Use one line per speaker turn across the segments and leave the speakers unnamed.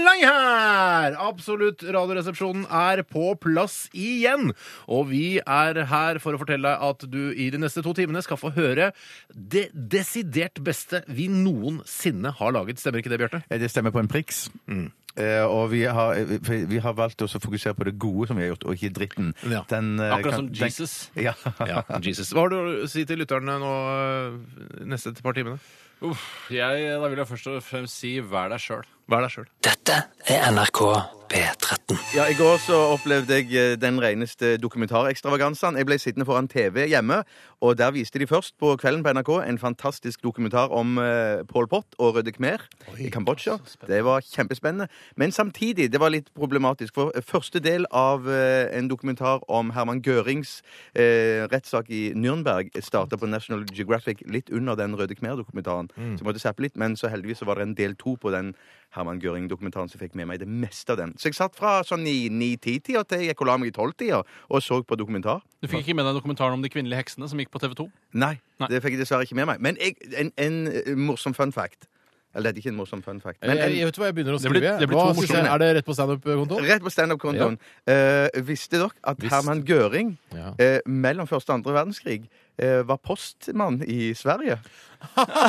Halløy her! Absolutt Radioresepsjonen er på plass igjen. Og vi er her for å fortelle deg at du i de neste to timene skal få høre det desidert beste vi noensinne har laget. Stemmer ikke det, Bjarte?
Eh, Det stemmer på en priks.
Mm.
Eh, og vi har, eh, vi- vi har valgt også å fokusere på det gode som vi har gjort, og ikke dritten.
Ja.
Den, eh,
Akkurat
kan-
som
den-
Jesus.
Ja.
Ja, Jesus. Hva har du å si til lytterne nå eh, neste par timene?
Uff, jeg, da vil jeg først og fremst si vær deg sjøl.
Vær deg sjøl.
Dette er NRK P13.
Ja, I går så opplevde jeg eh, den reneste dokumentarekstravagansen. Jeg ble sittende foran TV hjemme, og der viste de først på Kvelden på NRK en fantastisk dokumentar om eh, Pol Pot og Røde Khmer i Kambodsja. Det var kjempespennende. Men samtidig, det var litt problematisk, for eh, første del av eh, en dokumentar om Herman Görings eh, rettssak i Nürnberg starta på National Geographic litt under den Røde Khmer-dokumentaren. Så jeg måtte zappe litt, men så heldigvis så var det en del to på den Herman Göring-dokumentaren som fikk med meg det meste av den. Så jeg satt fra sånn i 9-10-tida til jeg gikk og la meg i 12-tida og så på dokumentar.
Du fikk ikke med deg dokumentaren om de kvinnelige heksene som gikk på TV 2?
Nei,
Nei.
det fikk jeg dessverre ikke med meg. Men jeg, en, en morsom fun fact. Eller det er ikke en morsom fun fact. Men
jeg,
en,
jeg vet hva jeg begynner å
Det blir-
skrive. jeg.
det blir
hva,
to
skal vi se,
morsomme.
er det rett på standup-kontoen?
rett på standup-kontoen. Eh, visste dere at Herman Göring
Ja.
eh, mellom første og andre verdenskrig eh, var postmann i Sverige?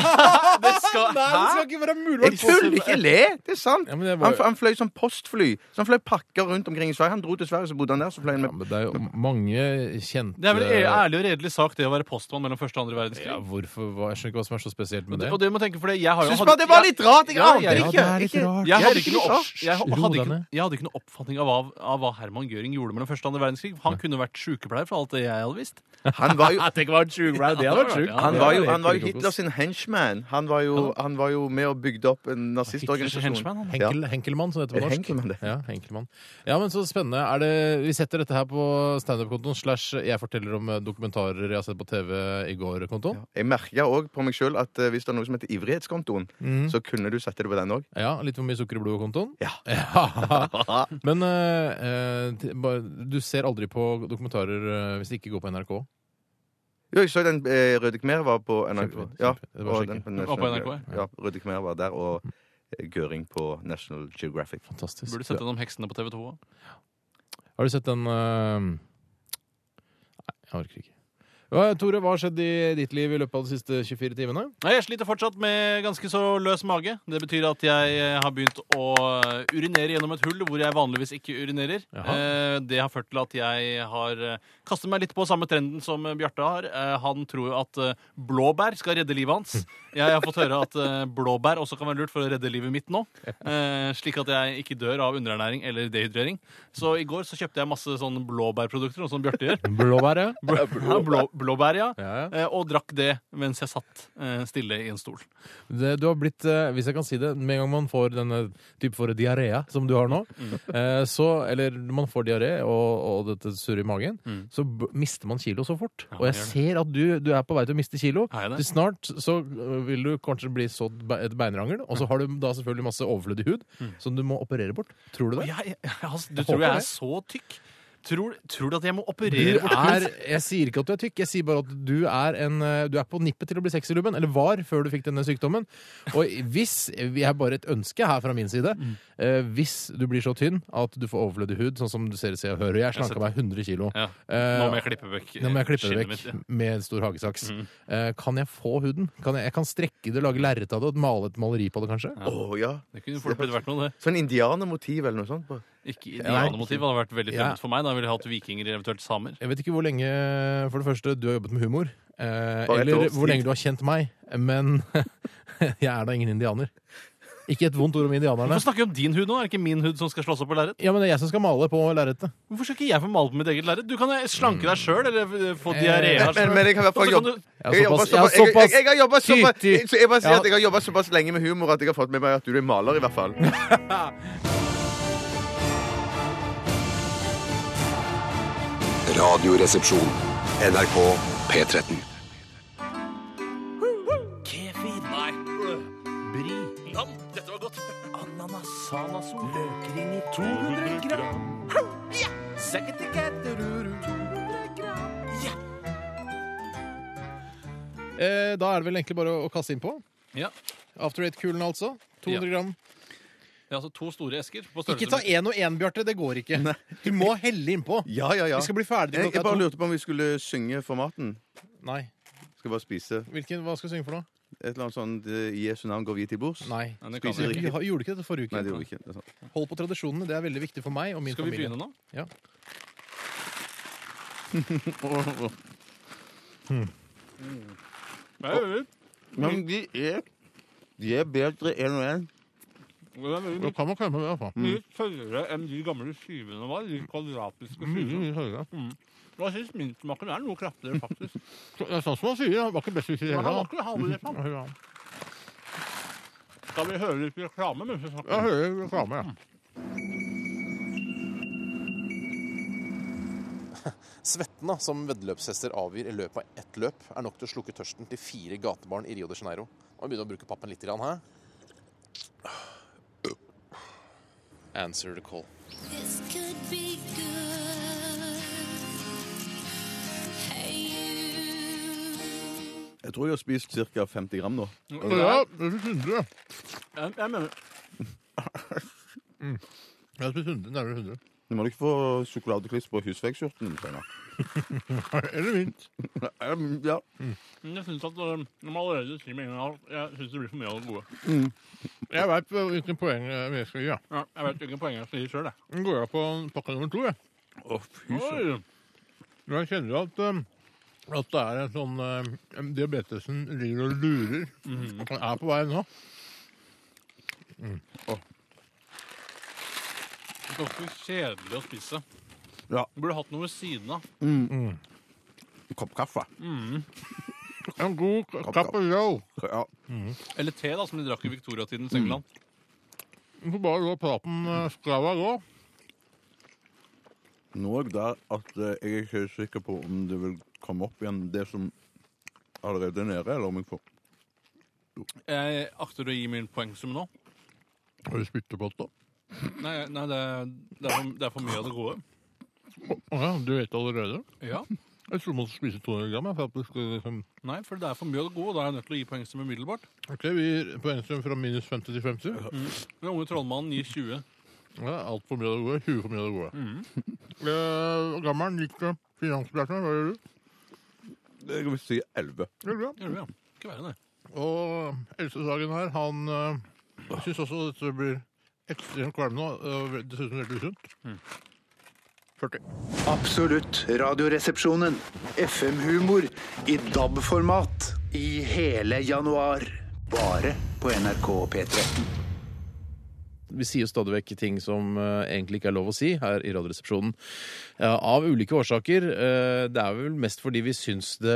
Nei, det skal ikke være mulig! å være
Jeg tuller ikke! Le! Det er sant.
Ja, men det var-
han, han fløy som postfly. Så han fløy pakker rundt omkring i Sverige. Han dro til Sverige, så bodde han der. Så fløy han
Ja,
med
men det er jo mange kjente
Det er vel en ærlig og redelig sak, det å være postmann mellom første og andre verdenskrig.
ja, hvorfor, hva, Jeg skjønner ikke hva som er så spesielt med det.
Og det må tenke, for det, jeg har jo
Syns bare det var litt rart! Jeg
Ja,
ante
ja,
det
ja,
ikke!
det er litt
Ikke-
rart.
Jeg hadde,
Jeg
ikke noe
skjønner.
opp, jeg, hadde
Ro deg
ikke,
ned.
jeg hadde ikke noe oppfatning av hva, av hva Herman Göring gjorde mellom første og andre verdenskrig. Han kunne vært sykepleier, for alt det jeg hadde visst.
Han var jo
Tenk hva en sjuk det hadde vært sjukt.
Han
Ja,
var
det
jo, han var jo Hitler sin henchman. Han var jo, han var jo med og bygde opp en
Hitlers
nazistorganisasjon.
henchman, han.
Ja.
Henkel, Henkelmann, som det heter på
Er
norsk.
Henkelmann det?
Ja, Henkelmann. ja, men så spennende. Er det, vi setter dette her på standup-kontoen slash jeg forteller om eh, dokumentarer jeg har sett på TV i går-kontoen.
Jeg merka òg på meg sjøl at eh, hvis det er noe som heter ivrighetskontoen,
Mm.
så kunne du sette det på den òg.
Ja. Litt for mye sukker i blodet-kontoen.
Ja.
men eh, eh, t- bare- du ser aldri på dokumentarer eh, hvis det ikke går på NRK.
Jo, jeg så den eh, Røde Khmer var på NRK.
Kjempefint,
Ja,
kjempefint. Det var
og
skikkelig.
den på
var på
National-
NRK,
Ja, Røde Khmer var der, og eh, Göring på National Geographic.
Fantastisk.
Burde sett den om heksene på TV 2 òg.
Har du sett den eh, Nei, jeg orker ikke. Ja, Tore, hva har skjedd i ditt liv i løpet av de siste 24 timene?
Nei, Jeg sliter fortsatt med ganske så løs mage. Det betyr at jeg eh, har begynt å eh, urinere gjennom et hull hvor jeg vanligvis ikke urinerer. Eh, Det har ført til at jeg har eh, kastet meg litt på samme trenden som eh, Bjarte har. Eh, Han tror jo at eh, blåbær skal redde livet hans. Jeg har fått høre at eh, blåbær også kan være lurt for å redde livet mitt nå. eh, Slik at jeg ikke dør av underernæring eller dehydrering. Så i går så kjøpte jeg masse sånne blåbærprodukter, sånn som Bjarte gjør.
Blåbær, ja.
Ja, Blå, blåbær, ja.
ja, ja.
Eh, Og drakk det mens jeg satt eh, stille i en stol.
Det, du har blitt, eh, hvis jeg kan si det, med en gang man får denne type for diaré som du har nå,
Mm.
eh, så, eller man får diaré og, og dette surret i magen, så b mister man kilo så fort.
Mm. Ja,
og jeg
det gjør
ser at du, du er på vei til å miste kilo.
Er jeg det?
Til snart så eh, vil du kanskje bli sådd be- et beinrangel, og så har du da selvfølgelig masse overflødig hud
Mm.
som du må operere bort. Tror du det?
Jeg, jeg, altså, du
Jeg
tror
håper
jeg er
det.
så tykk? Tror, tror du at jeg må
Du
operere bort
er, jeg sier ikke at du er tykk, jeg sier bare at du er, en, eh, du er på nippet til å bli sexylubben, eller var før du fikk denne sykdommen. Og hvis, jeg har bare et ønske her fra min side,
Mm.
eh, hvis du blir så tynn at du får overflødig hud, sånn som du ser i Se og Hør, og jeg
Jeg
slanka meg 100 kilo.
Ja.
Eh,
Nå må jeg klippe vekk
nå må jeg klippe det
skinnet
vekk
mitt, ja. Mm.
med stor hagesaks. Eh, Kan jeg få huden? Kan jeg, jeg kan strekke det, lage lerret av det, og male et maleri på det, kanskje?
Å ja.
Det kunne fort blitt vært noe, det.
Sånn indianermotiv eller noe sånt. på-
Ikke indianermotiv hadde vært veldig
Ja.
fremmed for meg. Da ville jeg hatt vikinger, eventuelt samer.
Jeg vet ikke hvor lenge For det første, du har jobbet med humor. Eh,
Bare et
eller
års
hvor
tid.
lenge du har kjent meg. Men jeg er da ingen indianer. Ikke et vondt ord om indianerne.
Hvorfor snakker vi om din hud nå? Er det ikke min hud som skal slåss opp på lerret?
Ja, men Det er jeg som skal male på lerretet.
Hvorfor skal ikke jeg få malt på mitt eget lerret? Du kan eh, slanke deg sjøl, eller eh, få
Eh,
diaré av
Men, men jeg har i
Altså,
hvert fall jobb...
sjøl.
Jeg har
Jeg har jobbet
såpass-
såpass-
jeg har
jeg- jeg- jeg har
såpass
jobbet såpass-
tytig-
så jeg bare sier
Ja.
at jeg har jobbet såpass lenge med humor at jeg har fått med meg at du er maler, i hvert fall.
Radioresepsjon. NRK P13.
Vri. Nam, dette var godt. Ananas. Sanasol. Løkring i 200 gram. Ja! Sakketikatteruru. 200 gram. Ja!
Eh, da er det vel egentlig bare å, å kaste innpå.
Ja.
After Eight-kulene, altså. 200 gram.
Det er altså to store esker på størrelse
Ikke ta én og én, Bjarte. Det går ikke. Du må helle innpå.
Ja, ja, ja.
Vi skal bli ferdig
jeg, jeg
klokka
bare
to.
lurte på om vi skulle synge for maten.
Nei.
Skal bare spise
Hvilken, hva skal vi synge for noe?
et eller annet sånt eh, I Jesu navn går vi til bords.
Nei.
Men det kan
Spiser
vi
Vi
ikke.
har- gjorde ikke dette forrige uke.
Nei, det gjorde vi ikke. Det er sant.
Hold på tradisjonene. Det er veldig viktig for meg og min
Skal vi
familie.
begynne nå?
Ja.
Det er veldig-
Men de er, de er bedre enn og enn.
det er veldig
Det kan man klemme med, iallfall.
mye tørrere enn de gamle skivene var. De kvadratiske
Mm.
Mm.
skivene.
Mm,
Jeg syns mintsmaken er noe kraftigere, faktisk.
Det er sånn som man sier. Det var ikke best hvis vi
Men han var ikke halvveis, han. Skal vi høre litt reklame mens vi snakker?
hører reklame, ja.
Svetten da, som veddeløpshester avgir i løpet av ett løp, er nok til å slukke tørsten til fire gatebarn i Rio de Janeiro. Må vi begynne å bruke pappen litt grann her. Answer the call.
This could be good. Hey, you.
Jeg tror jeg har spist ca. 50 gram nå.
Ja, det er 100.
Jeg, jeg mener,
Jeg har spist 100, nærmere 100.
Nå må du ikke få sjokoladekliss på husveggskjorten. Steinar.
Eller minst.
Um, Ja.
men jeg synes at øh, når man allerede sier med en gang at jeg syns det blir for mye av det gode.
Jeg veit hvilken poeng jeg skal gi. Ja.
Ja, jeg vet hvilke poeng jeg skal gi sjøl, jeg.
Nå går jeg på pakke nummer to. Jeg,
Oi,
Men jeg kjenner jo at, um, at det er en sånn um, Diabetesen ligger og lurer. Den er på vei nå.
Det er ganske kjedelig å spise.
Ja.
Du burde hatt noe ved siden av.
En kopp kaffe.
En god
kapp og
capello.
Ja.
Eller te, da, som de drakk i viktoriatidens England.
Du får bare la praten eh, skrava gå.
Noe der at eh, jeg er ikke sikker på om det vil komme opp igjen, det som allerede er nede, eller om jeg får
Jeg akter å gi min poengsum nå.
Har du spyttepott, da?
Nei, nei det, er, det, er for, det er for mye av det gode.
Å ja, du vet allerede?
Ja.
Jeg trodde man skulle spise 200 gram. jeg, for at det skulle liksom...
Nei, for det er for mye av det gode, og da er jeg nødt til å gi poengsum umiddelbart.
Ok, vi gir poengstrøm fra minus 50 til 50.
Den unge trollmannen gir 20.
Ja, Altfor mye av det gode. 20 for mye av det gode. Eh, Gammelen gikk eh, finansbransjen. Hva gjør du?
Jeg vil si 11.
Gjør du bra.
Gjør det, ja. Ikke verre, det.
Og Else Sagen her, han uh, syns også dette blir ekstremt kvalmende og eh, dessuten veldig usunt. 40.
Absolutt radioresepsjonen. FM-humor i DAB-format i hele januar. Bare på NRK P13.
Vi sier jo stadig vekk ting som eh, egentlig ikke er lov å si her i Radioresepsjonen. Ja, av ulike årsaker. Eh, det er vel mest fordi vi syns det,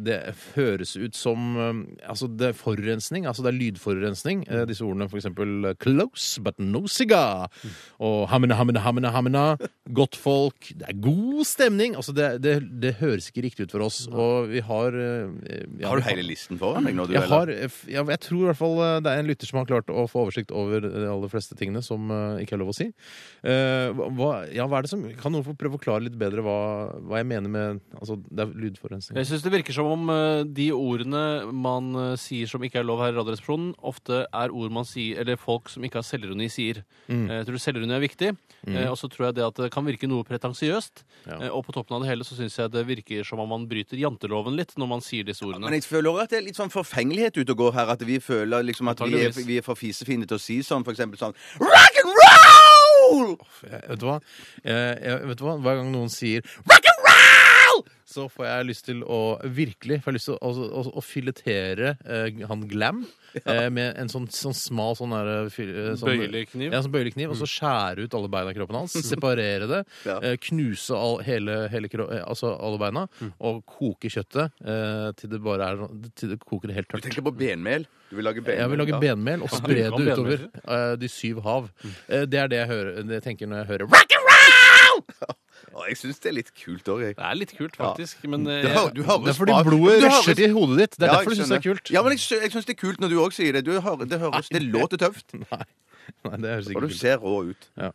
det høres ut som eh, Altså, det er forurensning. Altså, det er lydforurensning. Eh, disse ordene for eksempel eh, 'close but no cigar' og 'hamina, hamina, hamina, hamina'. Godt folk. Det er god stemning. Altså, det, det, det høres ikke riktig ut for oss. Og vi har eh, ja,
Har
vi
du hele listen foran deg nå, du?
jeg,
eller?
har, eh, ja, jeg tror i hvert fall eh, det er en lytter som har klart å få oversikt over de aller fleste tingene som eh, ikke er lov å si. Eh, hva, ja, hva er det som, kan noen få prøve å forklare litt bedre hva, hva jeg mener med altså, Det er lydforurensning.
Jeg syns det virker som om eh, de ordene man eh, sier som ikke er lov her i Radioresepsjonen, ofte er ord man sier, eller folk som ikke har selvironi, sier. Eh, Jeg tror selvironi er viktig, eh, og så tror jeg det at det kan virke noe pretensiøst.
Ja.
eh, Og på toppen av det hele så syns jeg det virker som om man bryter janteloven litt når man sier disse
Men
ordene.
jeg føler også at det er litt sånn forfengelighet ute og går her. At vi føler liksom at vi er,
Antageligvis.
vi er for fisefine til å si sånn, for eksempel sånn Rock and roll!
Jeg, vet, du hva? Jeg, jeg, vet du hva? Hver gang noen sier rock and roll! Så får jeg lyst til å virkelig får jeg lyst til å, å, å, å filetere eh, han Glam eh, med en sånn, sånn smal sånn der, eh, fil- eh, sånn,
Bøylekniv.
Ja, som bøylekniv, og så skjære ut alle beina i kroppen hans, separere det,
Ja.
eh, knuse all, hele, hele, kro- eh, altså alle beina, og koke kjøttet eh, til det bare er til det koker helt
Du
tørt.
tenker på benmel. Du vil lage benmel.
Jeg vil lage
ja.
benmel og spre
Ja,
det utover
benmel.
eh, de syv hav. Eh, det er det jeg, hører, det jeg tenker når jeg hører rock and roll!
Å, jeg syns det er litt kult òg, jeg.
Det er litt kult, faktisk.
Mm.
Men eh,
Du hø- du høres
det er fordi
bra-
blodet
du
rusher
høres-
til hodet ditt. Det er
Ja,
derfor
jeg
du syns det er
skjønner.
kult.
Ja, men jeg, sy- jeg syns det er kult når du òg sier det. Du hører, det, høres, det låter tøft.
Nei, det høres ikke
Og du
kult ut.
ser rå ut.
Ja.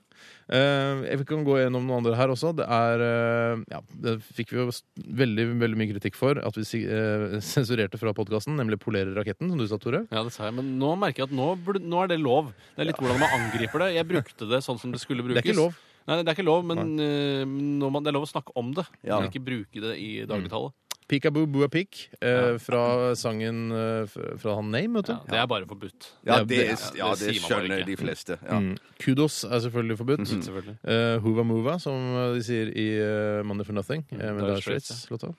Eh, jeg kan gå gjennom noen andre her også. Det er eh, ja, Det fikk vi jo s- veldig veldig mye kritikk for at vi si- eh, sensurerte fra podkasten, nemlig 'Polere raketten', som du sa, Tore.
Ja, det sa jeg, men nå merker jeg at nå, burde, nå er det lov. Det er litt hvordan man angriper det. Jeg brukte det sånn som det skulle
Det
brukes.
er ikke lov.
Nei, det er ikke lov, men eh, når man, det er lov å snakke om det.
Ja. Mm.
Men ikke bruke det i dagligtallet.
Peekaboo bua peek eh, fra sangen eh, f- fra han Name, vet du.
Det er bare forbudt.
Ja,
Ja,
det,
det-
er- ja, det
det sier man bare
skjønner
ikke.
de fleste. Ja.
Mm. Kudos er selvfølgelig forbudt.
Mhm. Selvfølgelig.
Eh, Hoover Mova, som eh, de sier i eh, Money for Nothing. eh, med Dire
Mm, Dire
Straits
Straits,
låta.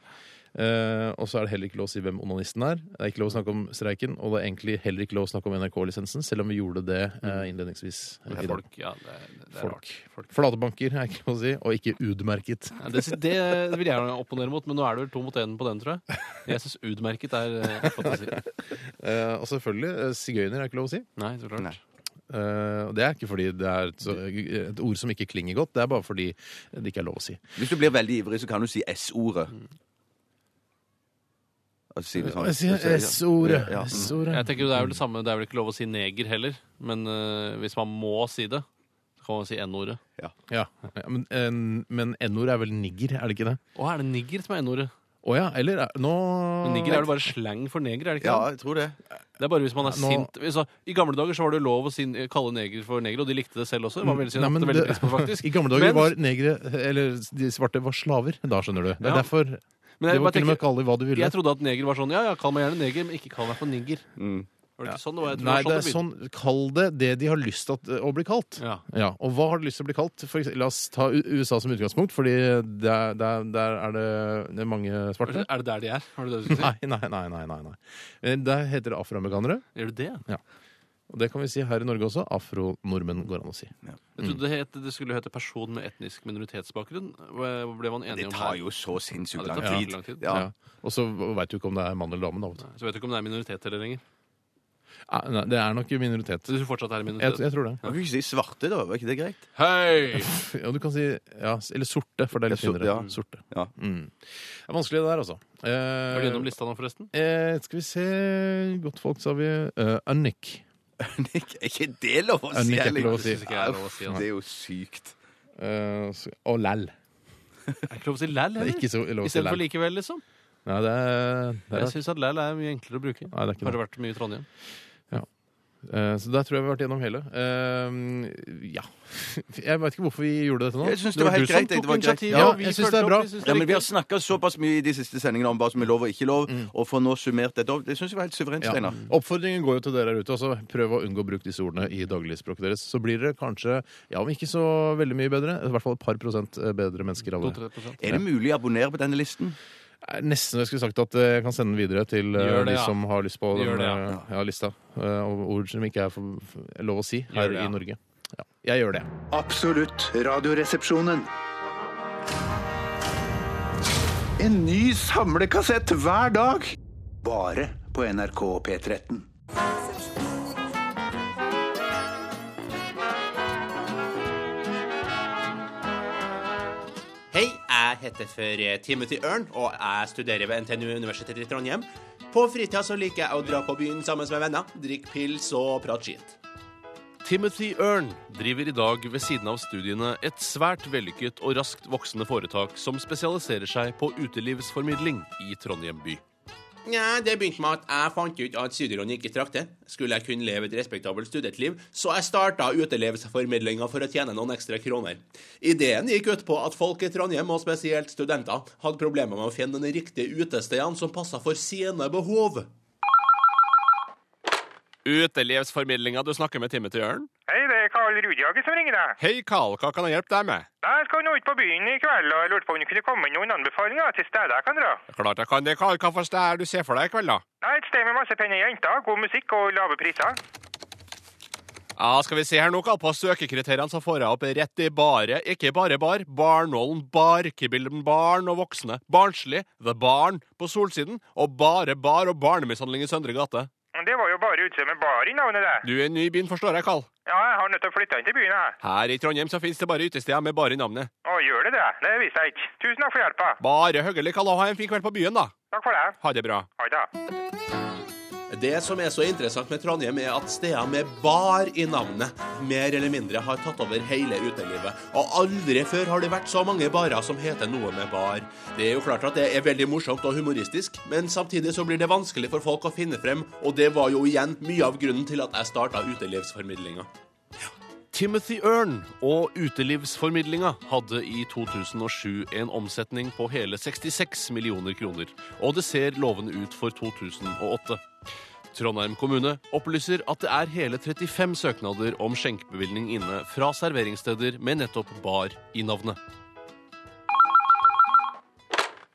Eh, og så er det heller ikke lov å si hvem onanisten er. Det er ikke lov å snakke om streiken, og det er egentlig heller ikke lov å snakke om NRK-lisensen, selv om vi gjorde det eh, innledningsvis. eh,
Mm. Det er
i dag.
folk, ja, det, er- det er
Folk.
rart. Folk.
Flatebanker er ikke lov å si, og ikke udmerket.
Ja, det, det vil jeg gjerne opponere mot, men nå er det vel to mot én på den, tror jeg. Jeg syns utmerket er eh, godt å si.
Eh, og selvfølgelig, eh, sigøyner er ikke lov å si.
Nei, så klart.
Eh, og det er ikke fordi det er et, så, et ord som ikke klinger godt, det er bare fordi det ikke er lov å si.
Hvis du blir veldig ivrig, så kan du si S-ordet. Altså, si det sånn.
Jeg Eh, sier S-ordet.
Ja.
S-ordet.
Jeg tenker jo Det er vel det samme, det er vel ikke lov å si neger heller, men eh, hvis man må si det, så kan man si n-ordet.
Ja, ja, men, en- men n-ord er vel nigger, er det ikke det?
Å, er det nigger som er n-ordet?
Å ja, eller er- nå
Men nigger er vel bare slang for neger? er det ikke
Ja,
sant?
jeg tror det.
Det er bare hvis man er
Nå-
sint. Så, I gamle dager så var det jo lov å si, kalle neger for neger, og de likte det selv også. Det var veldig,
Mm. Nei, men
det, veldig pris på,
I
faktisk.
gamle dager
Men-
var negre, eller de svarte var slaver. Da skjønner du. Det er
Ja.
derfor
Men
Det
jeg,
var
bare
til og med å
tenker,
kalle dem hva du ville.
jeg trodde at neger var sånn Ja, ja, kall meg gjerne neger, men ikke kall meg for nigger. Var det ikke sånn? Det var, jeg tror
Mm.
det
Nei,
var
det er sånn, kall det det de har lyst til at, eh, å bli kalt.
Ja.
Og hva har du lyst til å bli kalt? For eksempel, la oss ta U- USA som utgangspunkt, fordi der, der, der er det, det er mange
det begynte.
svarte.
Er det der de er? Var det det du skulle
Nei,
si?
nei, nei. nei, nei, nei. Eh, Der heter det afroamerikanere.
Gjør du det?
Og det kan vi si her i Norge også. Afronordmenn går an å si.
Jeg trodde det, het, det skulle hete person med etnisk minoritetsbakgrunn. Hva Ble man
Det
enige om
tar
her?
jo så sinnssykt
Ja, det
lang
tar
tid.
lang tid.
Ja.
Ja. Og så veit du ikke om det er mann eller dame. Da.
Så vet du ikke om det er minoritet eller lenger.
Ah, Nei, det er nok i minoritet.
Så hvis du fortsatt er i
Jeg,
minoritet.
jeg tror det.
Kan vi ikke si svarte, da? Var ikke det greit?
Hei!
Ja, du kan si ja, Eller sorte, for det er litt
Ja, sort- ja.
finere. Sorte.
Ja.
Mm. Det er vanskelig, det der, altså. Eh,
Er du gjennom lista nå, forresten?
eh, skal vi se Godtfolk, sa vi. Eh, Annik.
Nick, er ikke det lov å si?
Nick er ikke
eller?
lov å si.
Det synes ikke jeg er lov å si, altså.
Det er jo sykt.
Eh, så- og læll.
Er ikke lov å si læl,
Det er ikke
heller?
så lov å si
Istedenfor
læll.
likevel, liksom.
Nei, det er, det er
Jeg syns at læl er mye enklere å bruke.
Nei, det er ikke
Har
det.
det vært mye i Trondheim?
Eh, så der tror jeg vi har vært gjennom hele. Eh, ja. Jeg veit ikke hvorfor vi gjorde dette nå.
Jeg syns det var helt
du som
greit.
tok
Det var greit.
initiativet, og vi
jeg
fulgte
syns det
opp,
er bra.
vi synes
Ja, men Vi har snakka såpass mye i de siste sendingene om hva som er lov og ikke lov, og for nå summert dette opp. Det syns jeg var helt suverent,
Mm. Ja. Mm.
Steinar.
Oppfordringen går jo til dere her ute. Altså, prøv å unngå å bruke disse ordene i dagligspråket deres. Så blir dere kanskje, ja, om ikke så veldig mye bedre, i hvert fall et par prosent eh, bedre mennesker av det.
2-3%.
Er det mulig å abonnere på denne listen?
Det er Nesten jeg skulle sagt at eh, jeg kan sende den videre til eh,
Gjør det,
de
ja.
som har lyst på den
Gjør det, ja.
eh, ja, lista. eh, Og ord som ikke er for, for, lov å si her
det, ja.
i Norge. Ja, jeg gjør det.
Absolutt radioresepsjonen. En ny samlekassett hver dag. Bare på NRK P13.
Hei, jeg heter for Timothy Ørn, og jeg studerer ved NTNU Universitetet i Trondheim. På fritida så liker jeg å dra på byen sammen med venner, drikke pils og prate skitt.
Timothy Earn driver i dag ved siden av studiene et svært vellykket og raskt voksende foretak som spesialiserer seg på utelivsformidling i Trondheim by.
Nja, det begynte med at jeg fant ut at studielånet ikke trakk til. Skulle jeg kunne leve et respektabelt studentliv, så jeg starta utelivsformidlinga for å tjene noen ekstra kroner. Ideen gikk ut på at folk i Trondheim, og spesielt studenter, hadde problemer med å finne de riktige utestedene som passa for sine behov.
Utelivsformidlinga du snakker med Timothy Earn?
Hei, det er Karl Rudjage som ringer deg.
Hei, Karl, hva kan jeg hjelpe deg med?
Jeg skal nå ut på byen i kveld, og jeg lurte på om du kunne komme med noen anbefalinger til steder jeg kan dra.
Klart jeg kan det, Karl. Hva for sted er du ser for deg i kveld, da?
Nei, Et sted med masse pene jenter, god musikk og lave priser.
Ja, skal vi se her nå, Karl. På søkekriteriene så får jeg opp rett i baret. Ikke bare bar. Barnålen bar. Kibilden barn og voksne. Barnslig. The Barn på Solsiden. Og bare bar og barnemishandling i Søndre gate.
Men Det var jo bare utseende med bar i navnet, det.
Du er ny i byen, forstår jeg, Karl.
Ja, jeg har nødt til å flytte inn til byen, jeg.
Her i Trondheim så finnes det bare utesteder med bare navnet.
Å, gjør det det? Det visste jeg ikke. Tusen takk for hjelpa.
Bare hyggelig. Kalla, ha en fin kveld på byen, da.
Takk for det.
Ha det bra.
Ha det.
Det som er så interessant med Trondheim, er at steder med bar i navnet mer eller mindre har tatt over hele utelivet. Og aldri før har det vært så mange barer som heter noe med bar. Det er jo klart at det er veldig morsomt og humoristisk, men samtidig så blir det vanskelig for folk å finne frem, og det var jo igjen mye av grunnen til at jeg starta utelivsformidlinga.
Timothy Ørn og Utelivsformidlinga hadde i 2007 en omsetning på hele 66 millioner kroner, og det ser lovende ut for 2008. Trondheim kommune opplyser at det er hele 35 søknader om skjenkebevilgning inne fra serveringssteder med nettopp bar i navnet.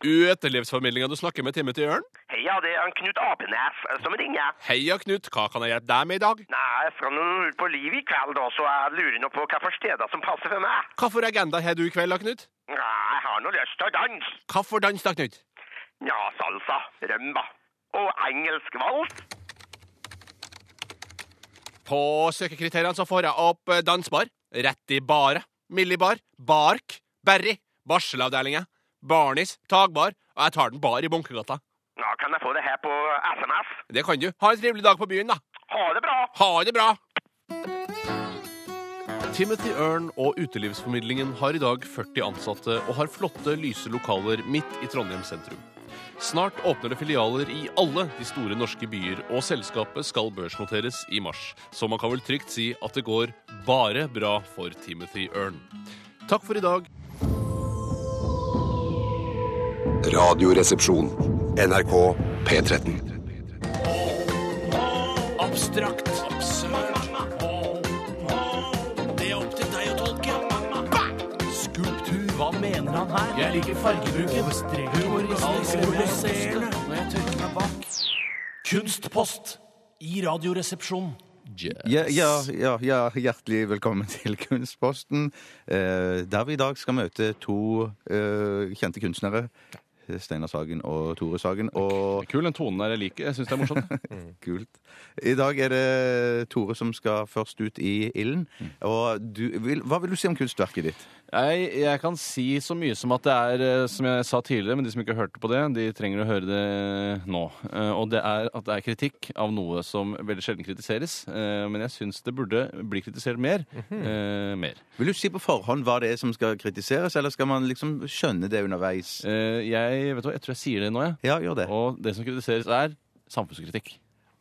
Utelivsformidlinga du snakker med Timothy Ørn?
Heia, det er han Knut Apenes eh, som ringer.
Heia, Knut. Hva kan jeg hjelpe deg med i dag?
Nei, jeg skal nå ut på liv i kveld, da, så jeg lurer nå på hva for steder som passer for meg.
Hvilken agenda har du i kveld, da, Knut?
Nei, jeg har nå lyst til å danse.
Hvilken dans, da, Knut?
Ja, salsa, rømba og engelsk vals.
På søkekriteriene så får jeg opp eh, dansbar, rett i bare, millibar, bark, berry, barselavdelinga, barnis, tagbar, og jeg tar den bar i bunkegata.
Ja, kan jeg få det her på SMS?
Det kan du. Ha en trivelig dag på byen, da.
Ha det bra.
Ha det bra. Timothy Ørn og Utelivsformidlingen har i dag 40 ansatte og har flotte, lyse lokaler midt i Trondheim sentrum. Snart åpner det filialer i alle de store norske byer, og selskapet skal børsnoteres i mars. Så man kan vel trygt si at det går bare bra for Timothy Ørn. Takk for i dag.
Radioresepsjon. NRK P13.
Abstrakt.
Det er opp til deg å tolke. Skulptur, hva mener han her? Jeg liker fargebruken. Humoristiske Når jeg tørker meg bak. Kunstpost i Radioresepsjonen.
Ja, ja, ja, ja, hjertelig velkommen til Kunstposten. Eh, der vi i dag skal møte to eh, kjente kunstnere. Steinar Sagen og Tore Sagen. Og...
Kul, den tonen der jeg liker. Jeg syns det er morsomt.
Kult. I dag er det Tore som skal først ut i ilden.
Mm.
Og du, vil, hva vil du si om kunstverket ditt?
Jeg, jeg kan si så mye som at det er, eh, som jeg sa tidligere, men de som ikke hørte på det, de trenger å høre det nå. Eh, Og det er at det er kritikk av noe som veldig sjelden kritiseres. eh, Men jeg syns det burde bli kritisert mer.
Mhm.
eh, mer.
Vil du si på forhånd hva det er som skal kritiseres, eller skal man liksom skjønne det underveis?
Eh, jeg, vet du hva, jeg tror jeg sier det nå, jeg.
Ja, gjør det.
Og det som kritiseres, er samfunnskritikk.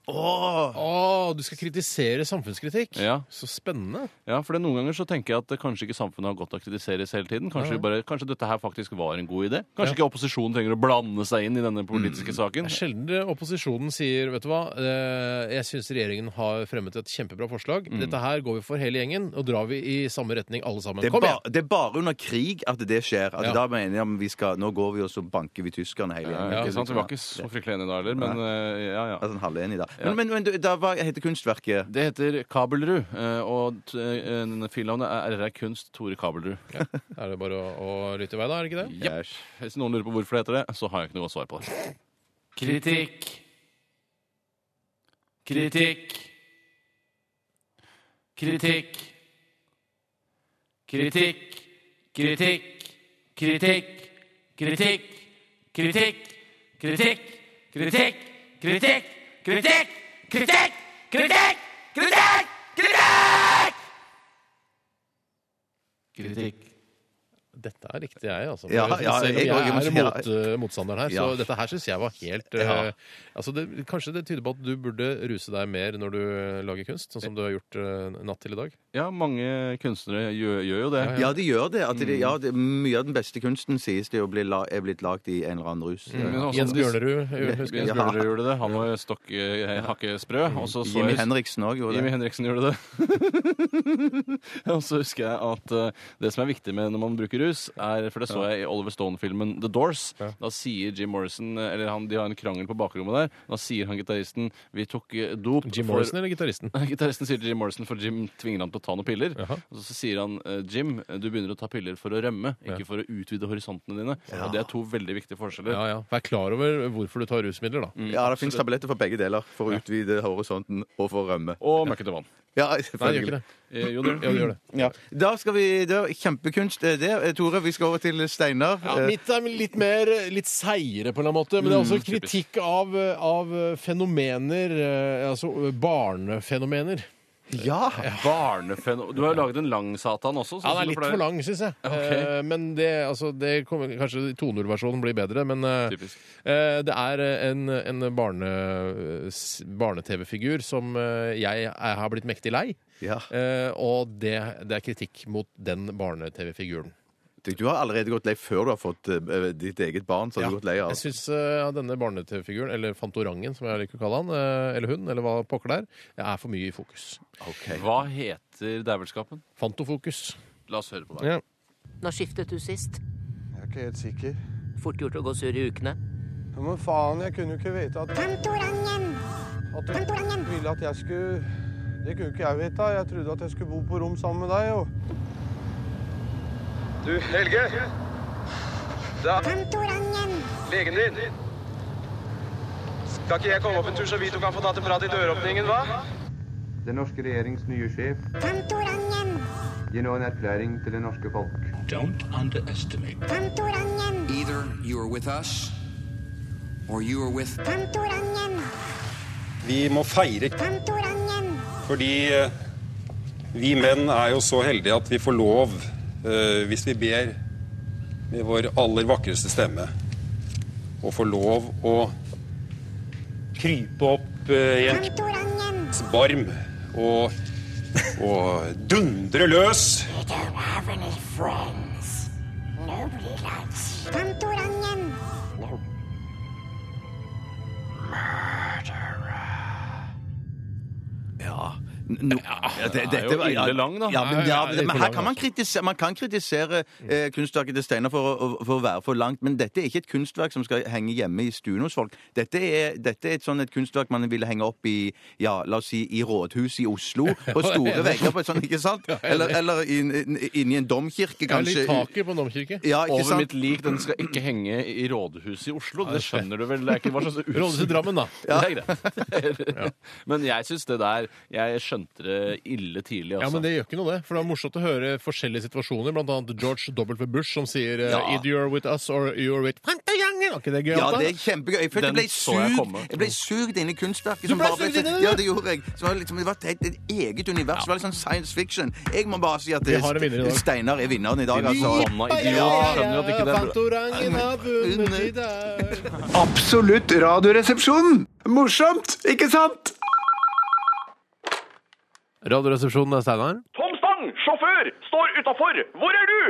Åh, du skal kritisere samfunnskritikk?
Ja.
Så spennende.
Ja, for det, noen ganger så tenker jeg at det kanskje ikke samfunnet har godt av å kritiseres hele tiden. Kanskje,
Ja.
vi bare, kanskje dette her faktisk var en god idé? Kanskje
Ja. Mm.
ikke opposisjonen trenger å blande seg inn i denne politiske saken?
Det er sjelden det opposisjonen sier vet du hva, eh, jeg syns regjeringen har fremmet et kjempebra forslag.
Mm.
Dette her går vi for hele gjengen, og drar vi i samme retning alle sammen.
Det er,
Kom
ba,
igjen!
det er bare under krig at det skjer. At
Ja.
Da mener jeg om vi skal, nå går vi og så banker vi tyskerne hele
Ja, ikke sant? Vi var ikke så fryktelig enige da heller, men eh, ja, ja.
Altså en halv enig da.
Ja.
Men, men, men du, da, hva heter kunstverket?
Det heter Kabelrud, eh, og t- eh, filnavnet er RR Kunst Tore Kabelrud.
Er det bare å, å lytte i vei, da? er det ikke det?
Jepp. Hvis noen lurer på hvorfor det heter det, så har jeg ikke noe godt svar på det.
Kritikk. Kritikk. Kritikk. Kritikk. Kritikk. Kritikk. Kritikk. Kritikk. Kritikk. Kritikk. Kritikk. Kritikk. Kritikk. Kritikk. Kritikk. Kritikk. Kritikk.
Dette er riktig, jeg, altså.
Ja,
For
ja,
selv om
jeg
jeg,
også- jeg
er
må
mot,
si-
eh, motstanderen her,
Ja.
så dette her syns jeg var helt
Ja.
eh, altså det, Kanskje det tyder på at du burde ruse deg mer når du lager kunst, sånn som du har gjort eh, natt til i dag?
Ja, mange kunstnere gjør, gjør jo det.
Ja, de gjør det. At de, ja, det. Mye av den beste kunsten sies det jo blir la, er blitt lagd i en eller annen rus.
Mm, men også-
eh,
Jens Bjørnerud gjorde det. Han var jo stokk eh, hakkesprø. og så så
Jimmy
jeg-
Henriksen også gjorde det.
Jimmy Henriksen gjorde det. og så husker jeg at eh, det som er viktig med når man bruker rus, er For det så
Ja.
jeg i Oliver Stone-filmen The Doors. Da sier Jim Morrison eh, Eller han, de har en krangel på bakrommet der. Da sier han gitaristen Vi tok eh, dop
Jim Morrison eller gitaristen?
Gitaristen sier til Jim Morrison, for Jim tvinger han til å ta noen piller. Og så sier han eh, Jim, du begynner å ta piller for å rømme, ikke for å utvide horisontene dine.
Ja.
Og det er to veldig viktige forskjeller.
Ja, ja. Vær klar over hvorfor du tar rusmidler, da.
Ja, det finnes tabletter for begge deler. For å utvide horisonten og for å rømme.
Og møkkete vann.
Ja,
Nei, det gjør ikke det.
Eh, jo, det gjør det.
Ja, det gjør det.
Ja. Da skal vi, det var Kjempekunst, det. er det. Eh, Tore, vi skal over til Steinar.
Ja,
Eh,
mitt er litt mer litt seigere, på en eller annen måte. Men det er også
Mm, typisk.
kritikk av, av fenomener. eh, Altså barnefenomener.
Ja!
Barnefenomen. Du har jo laget en lang satan også. sånn
Ja, den er litt for lang, syns jeg.
Ok.
Eh, Men det, altså, det kommer, kanskje 2.0-versjonen blir bedre, men eh, eh, det er en, en barne, s- barne-TV-figur som eh, jeg er- har blitt mektig lei. Eh, Og det, det er kritikk mot den barne-TV-figuren.
Du har allerede gått lei før du har fått eh, ditt eget barn. så har du gått lei av.
Jeg syns denne barne-TV-figuren, eller Fantorangen som jeg liker å kalle han, eh, eller hun, eller hva pokker det er, er for mye i fokus.
Hva heter dævelskapen?
Fantofokus.
La oss høre på det.
Ja.
Når skiftet du sist?
Jeg er ikke helt sikker.
Fort gjort å gå sur i ukene.
Ja, Men faen, jeg kunne jo ikke vite at Kantorangen! At du ville at jeg skulle Det kunne ikke jeg vite. Jeg trodde at jeg skulle bo på rom sammen med deg, jo.
Du, Helge. Det er
Kantorangen!
legen din. Skal ikke jeg komme opp en tur, så vi to kan få tatt en prat i døråpningen, hva?
Den norske regjerings nye sjef
Kantorangen!
gir nå en erklæring til det norske folk.
Don't underestimate.
Kantorangen!
Either you are with us, or you are with
Kantorangen!
Vi må feire,
Kantorangen!
fordi eh, vi menn er jo så heldige at vi får lov, eh, hvis vi ber med vår aller vakreste stemme, å få lov å krype opp eh, i en kvinnes barm og, og dundre løs.
Kantorangen!
Ja. Nå- ja, det,
den er
dette
jo
var- ja,
ille lang, da.
Ja,
Ja,
men,
ja,
ja,
ja,
men,
litt for
her
lang, altså. Mm.
kan man kritisere, man kan kritisere eh, kunstverket til Steinar for, å- å- for å være for langt, men dette er ikke et kunstverk som skal henge hjemme i stuen hos folk. Dette er, dette er et sånn et kunstverk man ville henge opp i ja, la oss si, i rådhus i Oslo, på store vegger, på et sånt, ikke sant? Eller, eller inn- inn- inni en domkirke,
Ja,
kanskje.
litt taket på en domkirke.
Ja, ikke
Over
sant?
mitt lik, den skal ikke henge i rådhuset i Oslo. Det skjønner du vel? Det er ikke hva slags
Rådhuset i Drammen, da.
Det er greit. Det er- Men jeg syns det der Jeg skjønte det ille tidlig,
Ja,
altså.
men Det gjør ikke noe, det. For det er morsomt å høre forskjellige situasjoner, blant annet George W. Bush som sier eh,
Ja.
Either you're with us or you're with Fantajangen! Var ikke det gøy?
Ja,
Alta?
det er kjempegøy. Jeg følte jeg
Den
ble
så jeg
sugd
komme.
Jeg ble sugd inn i kunstverket.
Du
som
ble
bare
sugd inn i det,
Ja,
du?
det gjorde jeg. Så det, var liksom, det var et, et eget univers. Det var litt sånn science fiction. Jeg må bare si at
Vi har en vinner i dag.
Steinar er vinneren i dag, altså.
Forbanna idiot. Skjønner jo at ikke det er bra.
Fantorangen har vunnet i dag.
Absolutt radioresepsjon! Morsomt, ikke sant?
Radioresepsjonen er Steinar.
Tom Stang, sjåfør, står utafor. Hvor er du?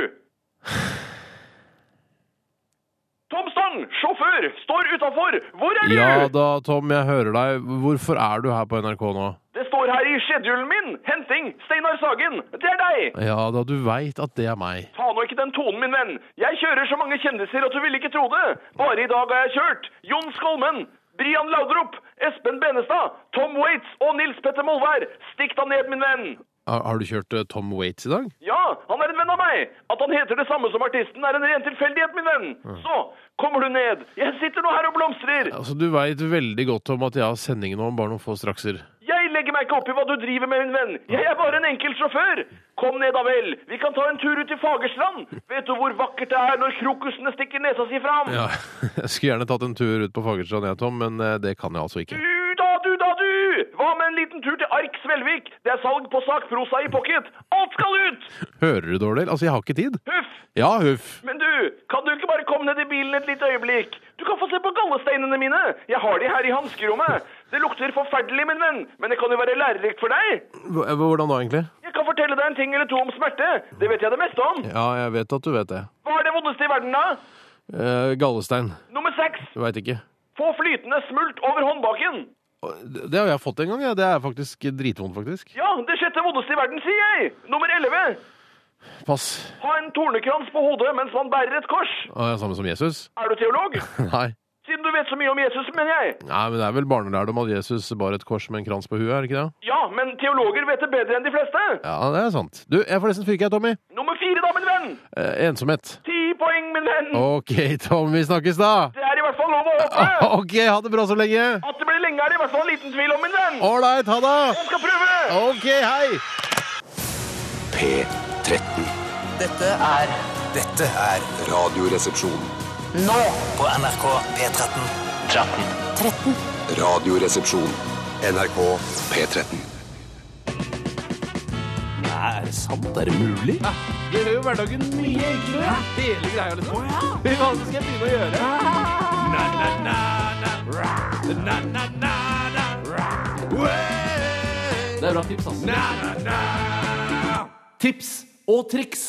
Tom Stang, sjåfør, står utafor. Hvor er du?
Ja da, Tom, jeg hører deg. Hvorfor er du her på NRK nå?
Det står her i schedulen min. Henting, Steinar Sagen. Det er deg.
Ja da, du veit at det er meg.
Ta nå ikke den tonen, min venn. Jeg kjører så mange kjendiser at du ville ikke tro det. Bare i dag har jeg kjørt Jon Skolmen, Brian Laudrup, Espen Benestad, Tom Waits og Nils Petter Molvær. Stikk deg ned, min venn.
Har, har du kjørt eh, Tom Waits i dag?
Ja, han er en venn av meg. At han heter det samme som artisten, er en ren tilfeldighet, min venn.
Mm.
Så kommer du ned. Jeg sitter nå her og blomstrer.
Altså, Du veit veldig godt om at jeg har sending nå om bare noen få strakser.
Jeg legger meg ikke opp i hva du driver med, min venn. Jeg er bare en enkel sjåfør. Kom ned da vel. Vi kan ta en tur ut i Fagersland. Vet du hvor vakkert det er når krokusene stikker nesa si fram?
Ja, Jeg skulle gjerne tatt en tur ut på Fagerstrand, jeg, Tom, men eh, det kan jeg altså ikke.
Du da, du da, du! Hva med en liten tur til Ark Svelvik? Det er salg på sakprosa i pocket. Alt skal ut!
Hører du dårlig? Altså, jeg har ikke tid.
Huff!
Ja, huff.
Men du, kan du ikke bare komme ned i bilen et lite øyeblikk? Du kan få se på gallesteinene mine. Jeg har de her i hanskerommet. Det lukter forferdelig, min venn, men det kan jo være lærerikt for deg.
Hva- Hvordan da, egentlig?
Jeg kan fortelle deg en ting eller to om smerte. Det vet jeg det meste om.
Ja, jeg vet at du vet det.
Hva er det vondeste i verden, da?
Eh, Gallestein.
Nummer seks.
Du veit ikke.
Få flytende smult over håndbaken.
Det det har jeg fått en gang, ja. Det er faktisk dritvondt, faktisk.
Ja, det sjette vondeste i verden, sier jeg. Nummer elleve.
Pass.
Ha en tornekrans på hodet mens man bærer et kors.
Å, ja, Samme som Jesus?
Er du teolog?
Nei.
Siden du vet så mye om Jesus, mener jeg.
Nei, men det er vel barnelærdom at Jesus bar et kors med en krans på huet, er det ikke det?
Ja, men teologer vet det bedre enn de fleste.
Ja, det er sant. Du, jeg får nesten fyke, jeg, Tommy.
Nummer fire, da, min venn.
Eh, ensomhet.
Ti poeng, min venn.
OK, Tom, vi snakkes da.
Det er i hvert fall lov å håpe.
OK, ha det bra så lenge.
At det blir lenge, er det i hvert fall en liten tvil om, min venn.
Ålreit, ha det.
Jeg skal prøve.
OK, hei.
P13.
Dette er
Dette er Radioresepsjon.
nå på NRK P13. 13. 13.
Radioresepsjon. NRK P13.
Nei, er det sant? Er det mulig?
Det gjør jo hverdagen mye enklere. Hele greia, liksom. Hva skal jeg begynne å gjøre? Det er bra tips, altså. Tips og triks.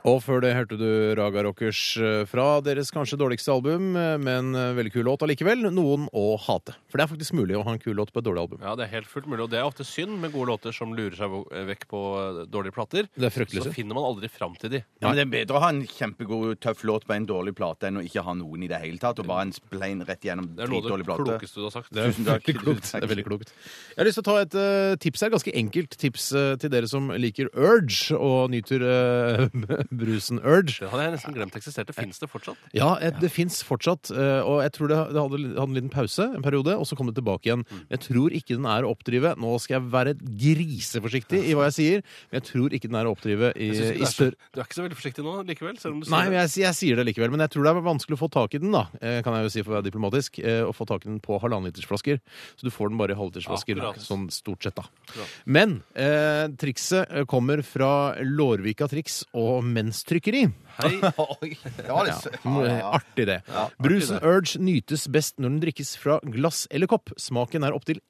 Og før det hørte du Raga Rockers eh, fra deres kanskje dårligste album, eh, men eh, veldig kul låt allikevel. Noen å hate. For det er faktisk mulig å ha en kul låt på et dårlig album.
Ja, det er helt fullt mulig, og det er ofte synd med gode låter som lurer seg vo- vekk på eh, dårlige plater.
Det er fryktelig
Så
synd.
finner man aldri fram til de.
Ja, men Det er bedre å ha en kjempegod, tøff låt på en dårlig plate enn å ikke ha noen i det hele tatt, og bare en splein rett gjennom
Det er noe av det
dritdårlig plate.
klokeste du har sagt.
Det er
Tusen takk.
veldig klokt.
Tusen takk.
Det er veldig klokt. Jeg har lyst til å ta et eh, tips her. Ganske enkelt tips eh, til dere som liker Urge og nyter eh, brusen Urge.
Det hadde jeg nesten glemt eksisterte. Fins det fortsatt?
Ja, et, det fins fortsatt. eh, Og jeg tror det, det hadde, hadde en liten pause en periode, og så kom det tilbake igjen.
Mm.
Jeg tror ikke den er å oppdrive. Nå skal jeg være griseforsiktig i hva jeg sier, men jeg tror ikke den er å oppdrive i,
Jeg synes ikke
i
det er så-
større
Du er ikke så veldig forsiktig nå likevel? Selv om du sier
Nei, men
det.
jeg, jeg sier det likevel. Men jeg tror det er vanskelig å få tak i den, da. eh, Kan jeg jo si for å være diplomatisk. eh, Å få tak i den på halvannenlitersflasker. Så du får den bare i halvlitersflasker.
Akkurat.
Sånn stort sett, da. Men eh, trikset eh, kommer fra Lårvika Triks og Menstrykkeri.
Hei.
var litt sø-
Ja, eh, artig det. Brusen Urge nytes best når den drikkes fra glass eller kopp. Smaken er opptil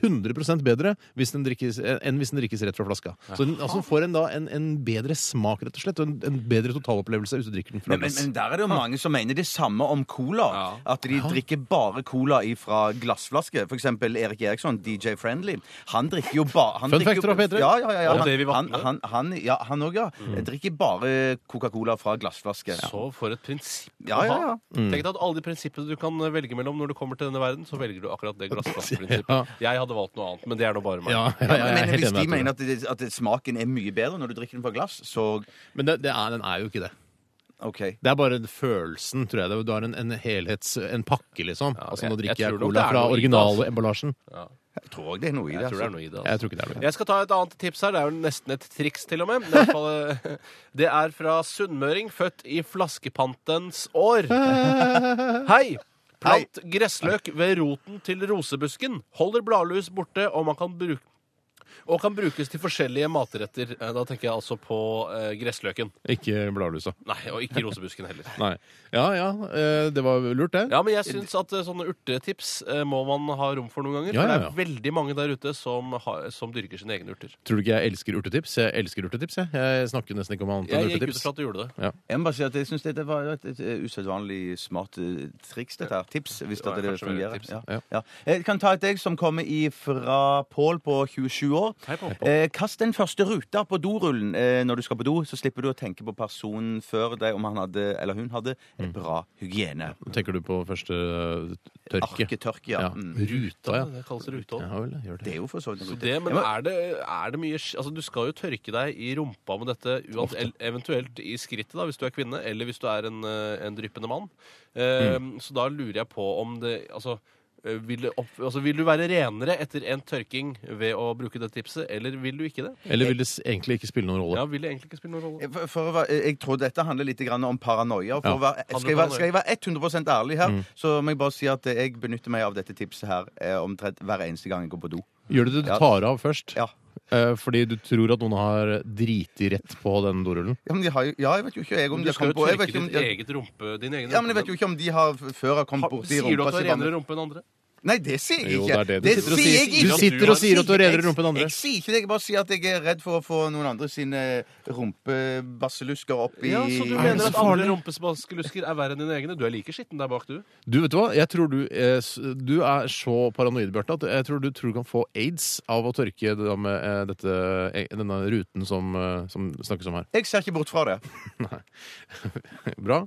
100 bedre hvis den drikkes, eh, enn hvis den drikkes rett fra flaska. Så den altså, får en da en, en bedre smak, rett og slett, og en, en bedre totalopplevelse hvis du drikker den fra
Men, men,
glass.
men der er det jo
Ah.
mange som mener det samme om cola. At de drikker bare cola fra glassflaske. For eksempel Erik Eriksson, DJ Friendly. Han drikker jo bare han
Fun
drikker
fact
jo-
fra Peter.
Ja, ja, ja, ja.
Og
Han,
Davy
han,
Vatne.
han, han, ja, han også, ja. Drikker bare Coca-Cola fra glassflaske.
Mm. Så for et prinsipp
Ja, ja, ja.
å ha.
Mm.
Tenk deg at alle de prinsippene du kan velge mellom når du kommer til denne verden, så velger du akkurat det glassflaskeprinsippet. Jeg hadde valgt noe annet, men det er nå bare meg.
men hvis de mener at, det- at det- smaken er mye bedre når du drikker den fra glass, så
Men det, det er, den er jo ikke det. Det er bare følelsen, tror jeg. Det er- Du har en, en helhets... En pakke, liksom. altså, nå
jeg- jeg
drikker jeg,
tror nok det
cola
er
fra
noe i det, altså.
originalemballasjen.
Jeg tror også det er noe i det.
Jeg tror det er
altså.
noe i det. altså.
Jeg tror ikke det er noe.
Jeg skal ta et annet tips her. Det er jo nesten et triks, til og med. Det er, i hvert fall, eh, det er fra sunnmøring, født i flaskepantens år. Hei! Plant gressløk ved roten til rosebusken. Holder bladlus borte, og man kan bruke og kan brukes til forskjellige matretter. Eh, Da tenker jeg altså på eh, gressløken.
Ikke bladlusa.
Nei, og ikke rosebusken heller.
Nei. Ja ja, eh, det var lurt, det.
Ja, men jeg syns at eh, sånne urtetips eh, må man ha rom for noen ganger.
Ja,
For
ja,
det er veldig mange der ute som, har, som dyrker sine egne urter.
Tror du ikke jeg elsker urtetips? Jeg elsker urtetips, jeg. Jeg snakker nesten ikke om annet
Jeg
enn
gikk ut
urtetips.
fra at du gjorde det.
Ja.
Jeg må bare si at jeg synes dette var et, et, et usedvanlig smart eh, triks, dette her. Tips, hvis
Det var
dette det
kanskje mer et
fungerer.
tips.
Ja. Ja. Jeg kan ta et deg som kommer fra Pål på 27 år.
Hei, Pål.
Eh, kast den første ruta på dorullen eh, når du skal på do, så slipper du å tenke på personen før deg om han hadde, eller hun hadde en bra hygiene.
Tenker du på første eh,
Ah,
tørke?
Arketørke, ja. Mm.
Ruta, ja.
Det kalles rute
Ja vel, gjør det.
Det er jo for så vidt en
Så
rute.
det, men
Jeg må-
er det, er det mye sk- Altså, du skal jo tørke deg i rumpa med dette, uant, el- eventuelt i skrittet, da, hvis du er kvinne, eller hvis du er en, eh, en dryppende mann. Eh,
Mm.
Så da lurer jeg på om det Altså eh, vil, det opp, altså, vil du være renere etter en tørking ved å bruke det tipset, eller vil du ikke det?
Eller vil det s- egentlig ikke spille noen rolle?
Ja, vil det egentlig ikke spille noen rolle?
Eh, For, for å være, jeg tror dette handler litt grann om paranoia. og For
Ja.
å være,
Handler
skal, jeg
om
være, skal jeg være 100 ærlig
Mm.
her, så må jeg bare si at eh, jeg benytter meg av dette tipset her eh, omtrent hver eneste gang jeg går på do.
Gjør du det du
Ja.
tar av først?
Ja.
Eh, Fordi du tror at noen har driti rett på den dorullen?
Ja, men de har jo, ja, jeg vet jo ikke jeg om
Du
de har
skal
kommet
jo
på jeg vet
tørke
ikke om
ditt
de,
eget rumpe, din egen
Ja, men jeg vet jo ikke om de har f- før har kommet
rumpe.
borti
Sier du
rumpa
at du har
si bare-
renere rumpe enn andre?
Nei, det sier jeg
Jo,
ikke.
det er det du sitter og sier.
jeg ikke.
Du sitter og sier at du redder rumpen andre.
Jeg, jeg sier ikke det. Jeg bare sier at jeg er redd for å få noen andre sine rumpebasselusker opp i
Ja, Så du mener at alle rumpespaskelusker er verre enn dine egne? Du er like skitten der bak, du.
Du vet du hva, jeg tror du, eh, s- du er så paranoid, Bjarte, at jeg tror du tror du kan få aids av å tørke det der med eh, dette, eh, denne ruten som, eh, som snakkes om her.
Jeg ser ikke bort fra det.
Nei. Bra.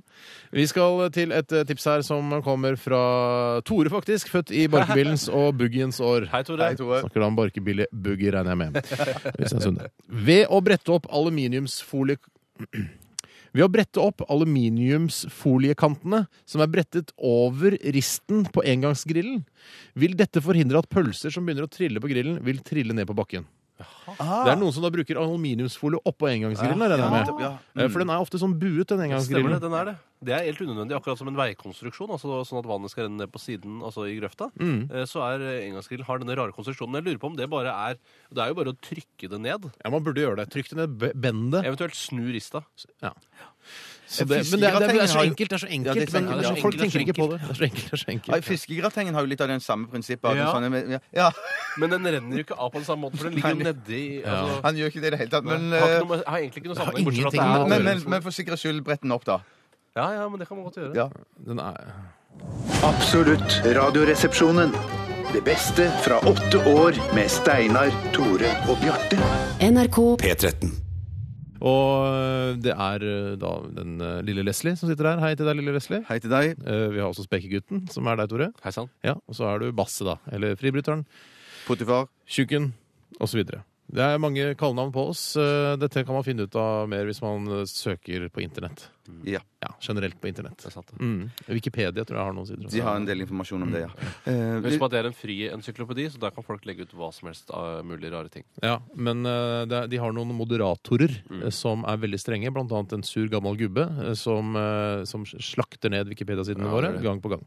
Vi skal til et eh, tips her som kommer fra Tore, faktisk. Født i barkebillens og boogiens år.
Hei, Tore. Hei, Tore.
Snakker da om barkebille boogie, regner jeg med. Hvis jeg er sunn. Ved å brette opp aluminiumsfolie... Ved å brette opp aluminiumsfoliekantene som er brettet over risten på engangsgrillen, vil dette forhindre at pølser som begynner å trille på grillen, vil trille ned på bakken. Det er noen som da bruker aluminiumsfolie oppå engangsgrillen.
Ja,
regner jeg
nettopp,
med.
ja.
Eh, For den er ofte sånn buet, den
Stemmer
engangsgrillen.
det, den er det. Det er helt unødvendig, akkurat som en veikonstruksjon, altså sånn at vannet skal renne ned på siden, altså i grøfta.
Mm.
eh, Så er eh, engangsgrillen har denne rare konstruksjonen. Jeg lurer på om det bare er Det er jo bare å trykke det ned.
Ja, man burde gjøre det. Trykk det ned, be- bend det.
Eventuelt snu rista.
Ja. Så det, men det, er- det, er- det er så enkelt, det er så enkelt. men det er så, folk tenker ikke på det. Det er så enkelt, det er så enkelt.
Ja, Fiskegratengen har jo litt av den samme prinsippet. at den
Ja.
Sånn, ja.
Men den renner jo ikke av på den samme måten, for den ligger jo nedi altså,
Han gjør ikke det i det hele tatt.
Nei,
Men, eh,
har, ikke noe, med- har egentlig ikke noe sammenheng, bortsett fra
men,
at det
men,
er
men, men for sikkerhets skyld, brett den opp, da.
Ja, ja, men det kan man godt gjøre.
Ja.
Absolutt Radioresepsjonen. Det beste fra åtte år med Steinar, Tore og Bjarte.
NRK
P13.
Og det er eh, da den eh, lille Leslie som sitter her. Hei til deg, lille Leslie. Eh,
Hei til deg.
Vi har også Spekegutten, som er deg, Tore.
Hei sann.
Ja, og så er du Basse, da. Eller Fribryteren.
Potifar.
Tjukken. Og så videre. Det er mange kallenavn på oss. Eh, Dette kan man finne ut av mer hvis man eh, søker på internett.
Ja.
generelt på internett. Mm. Wikipedia tror jeg har noen sider. også.
De har en del informasjon om det, ja. Eh,
Husk på at det er en fri encyklopedi, så der kan folk legge ut hva som helst av mulig rare ting.
Ja, men eh, det er- de har noen moderatorer
Mm.
eh, som er veldig strenge, blant annet en sur gammel gubbe eh, som, eh, som slakter ned Wikipedia-sidene
Ja, det er
våre
det.
gang på gang.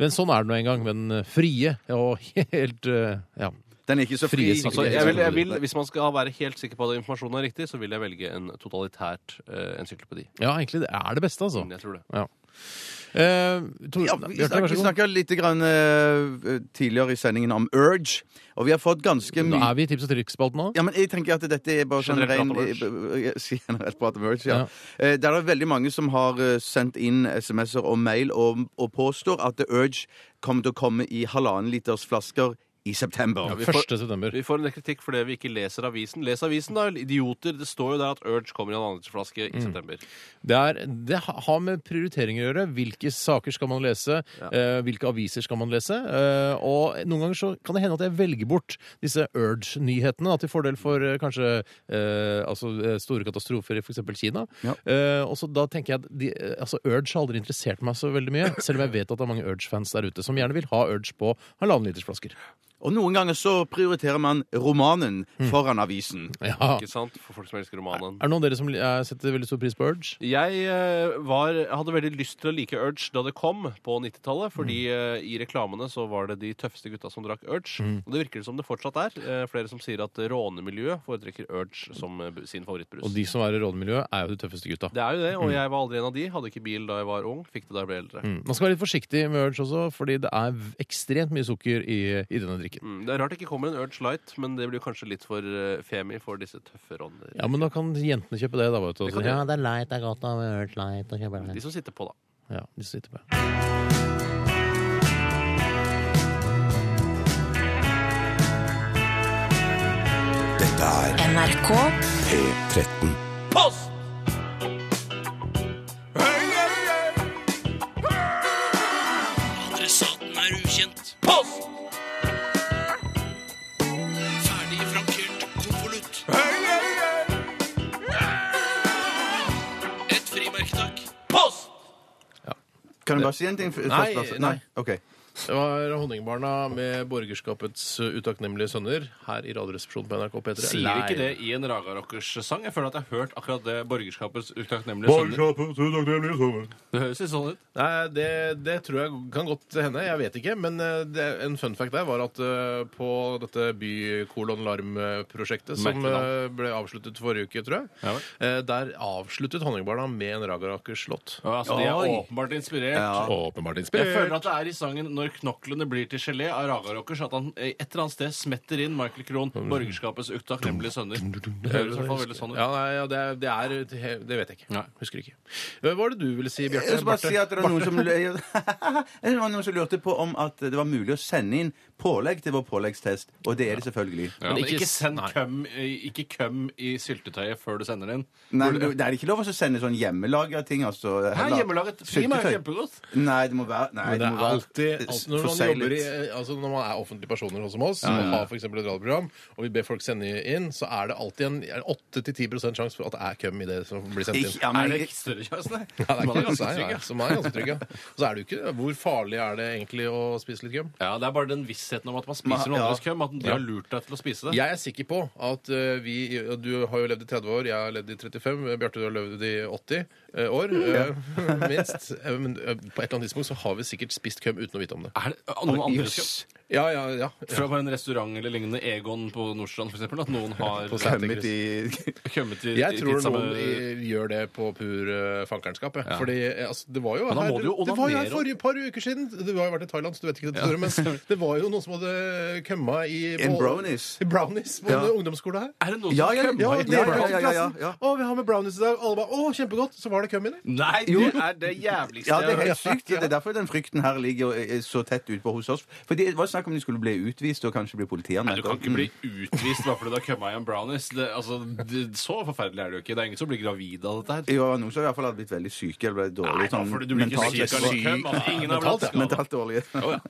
Men sånn er det nå en gang. Men eh, frie og helt eh, ja.
Den er ikke så fri.
sikkert.
Altså, jeg vil, jeg vil, hvis man skal være helt sikker på at informasjonen er riktig, så vil jeg velge en totalitært eh, encyklopedi.
Ja, egentlig det er det beste, altså.
Jeg tror det.
Ja. Eh, Tor-
Ja, vi
Bjarte, vær
snakket,
så
vi
god.
snakket litt grann, eh, tidligere i sendingen om Urge, og vi har fått ganske mye
Nå er vi i tips og triks-spalten nå.
Ja, men jeg tenker at dette er bare sånn
Generelt
ren
prat om
eh, b- b- Generelt prat om merch, ja. Eh, Der er det veldig mange som har eh, sendt inn SMS-er og mail og, og påstår at The Urge kommer til å komme i halvannen liters flasker i september.
vi får-
september.
Vi får en del kritikk fordi vi ikke leser avisen. Les avisen, da, idioter. Det står jo der at Urge kommer i en annenflaske i
Mm.
september.
Det, er, det ha- har med prioriteringer å gjøre. Hvilke saker skal man lese? eh, hvilke aviser skal man lese? eh, og noen ganger så kan det hende at jeg velger bort disse urge-nyhetene. da, Til fordel for eh, kanskje eh, altså, eh, store katastrofer i f.eks. Kina. Eh, og så da tenker jeg at de, eh, altså, Urge har aldri interessert meg så veldig mye. Selv om jeg vet at det er mange Urge-fans der ute som gjerne vil ha Urge på halvannen liters flasker.
Og noen ganger så prioriterer man romanen
Mm.
foran avisen.
Ja.
Ikke sant? For folk som elsker romanen.
Er det noen av dere som li- eh, setter veldig stor pris på Urge?
Jeg eh, var, hadde veldig lyst til å like Urge da det kom på 90-tallet. Fordi eh, i reklamene så var det de tøffeste gutta som drakk Urge.
Mm.
Og det virker det som det fortsatt er. Eh, flere som sier at rånemiljøet foretrekker Urge som eh, bu- sin favorittbrus.
Og de som er i rådemiljøet, er jo de tøffeste gutta.
Det er jo det, og
Mm.
jeg var aldri en av de. Hadde ikke bil da jeg var ung. Fikk det da jeg ble eldre.
Mm. Man skal være litt forsiktig med Urge også, fordi det er v- ekstremt mye sukker i, i denne drikken.
Mm, Det er rart det ikke kommer en Urge Light, men det blir kanskje litt for eh, femi for disse tøffe rånene.
Ja, men da kan jentene kjøpe det, da. Vet du.
Det kan
ja,
de.
det er light, det er godt, da. Urge light, og kjøper det.
De som sitter på, da.
Ja, de som sitter på.
Dette er
NRK.
P13.
Post! Adressaten er ukjent. Post! Ferdig frankert konvolutt. Et frimerke, takk. Post!
Kan du bare si en ting? f- først,
Nei,
Lasse?
nei.
Ok.
Det var Honningbarna med borgerskapets utakknemlige sønner her i Radioresepsjonen på NRK P3.
Sier ikke det i en Raga-rockers-sang? Jeg føler at jeg har hørt akkurat det borgerskapets utakknemlige sønner. Det høres litt sånn ut.
Nei, det, det tror jeg kan godt hende. Jeg vet ikke. Men eh, det, en fun fact der var at eh, på dette Bykolon Larm-prosjektet som
Merkelig navn.
eh, ble avsluttet forrige uke, tror jeg, eh, der avsluttet Honningbarna med en Ragarakers-låt.
Ja, altså, de er åpenbart inspirert.
Ja. Åpenbart inspirert.
Jeg føler at det er i sangen 'Når knoklene blir til gelé av Ragarocker, så at han eh, et eller annet sted smetter inn Michael Krohn, borgerskapets utakknemlige sønner. Det høres i hvert fall veldig sånn ut.
Ja, nei, ja, det, er, det er Det vet jeg ikke. husker ikke. Hva var det du ville si, Bjarte?
Jeg skal bare
Barte?
si at det var noen som,
Barte?
det var noen som lurte på om at det var mulig å sende inn pålegg til vår påleggstest, og det er det selvfølgelig.
Ja, men ikke send køm, i- ikke køm i syltetøyet før du sender den.
Nei,
Hvor-
men det er ikke lov å sende sånn hjemmelaga ting. Altså,
Hæ,
Eller-
hjemmelaget? Prima er
Syltetøy.
kjempegodt.
Nei, det må være nei,
Men det
må
er
være-
alltid, alltid når, man
forseglet.
jobber i, altså når man er offentlige personer sånn som oss,
Ja, ja, ja.
og har for eksempel et radioprogram, og vi ber folk sende inn, så er det alltid en en 8-10 sjanse for at det er køm i det som blir sendt inn.
Ikke- ja, men-
er det ikke
større sjanse, nei?
Ja, det er
Man er
ikke-
ganske
nei,
trygg,
nei,
ja.
så man er ganske trygg, ja. Og så er det jo ikke Hvor farlig er det egentlig å spise litt køm?
Ja, Det er bare den vissheten om at man spiser noen
Ja.
andres køm, at de
Ja.
har lurt deg til å spise det.
Jeg er sikker på at eh, vi og Du har jo levd i 30 år, jeg har levd i 35, eh, Bjarte du har levd i 80 eh, år. eh, minst. Eh, Men eh, på et eller annet tidspunkt så har vi sikkert spist køm uten å vite om det.
Er det noen andres køm?
Ja, ja, ja.
Fra en restaurant eller lignende, Egon på Nordstrand f.eks., at noen har
På Sætergress.
Kømmet i,
Jeg
i-
tror
i samme-
noen eh, gjør det på pur eh, fankernskap. jeg.
Ja.
Fordi eh, altså, det var jo
Men da må
her,
du jo
det var jo
onanere.
her forrige par uker siden. Det var jo vært i Thailand, så du vet ikke det,
Ja.
Tore, men det var jo noen som hadde kømma i
In
på-
brownies.
I brownies på
Ja.
en ungdomsskole her.
Er det noen
Ja,
som
ja,
kømma
ja,
i
ja, ja, ja, ja, ja.
klassen? Å, vi har med brownies i dag. Alle bare Å, kjempegodt. Så var det køm i det.
Nei,
Jo.
det er det jævligste
Ja, det er
jeg har
helt
hørt.
sykt. Det er derfor den frykten her ligger eh, så tett utpå hos oss. For det var snakk om de skulle bli utvist og kanskje bli politianmeldt.
Du kan ikke bli utvist bare fordi du har kømma i en brownies. Det, altså, det, så forferdelig er det jo ikke. Det er ingen som blir gravid av dette her.
Jo, noen som i hvert fall hadde blitt veldig syke eller ble dårlig sånn
Nei, da, for du blir ikke syk av litt køm, altså. Ingen har
mentalt,
blitt skadet.
mentalt dårlig.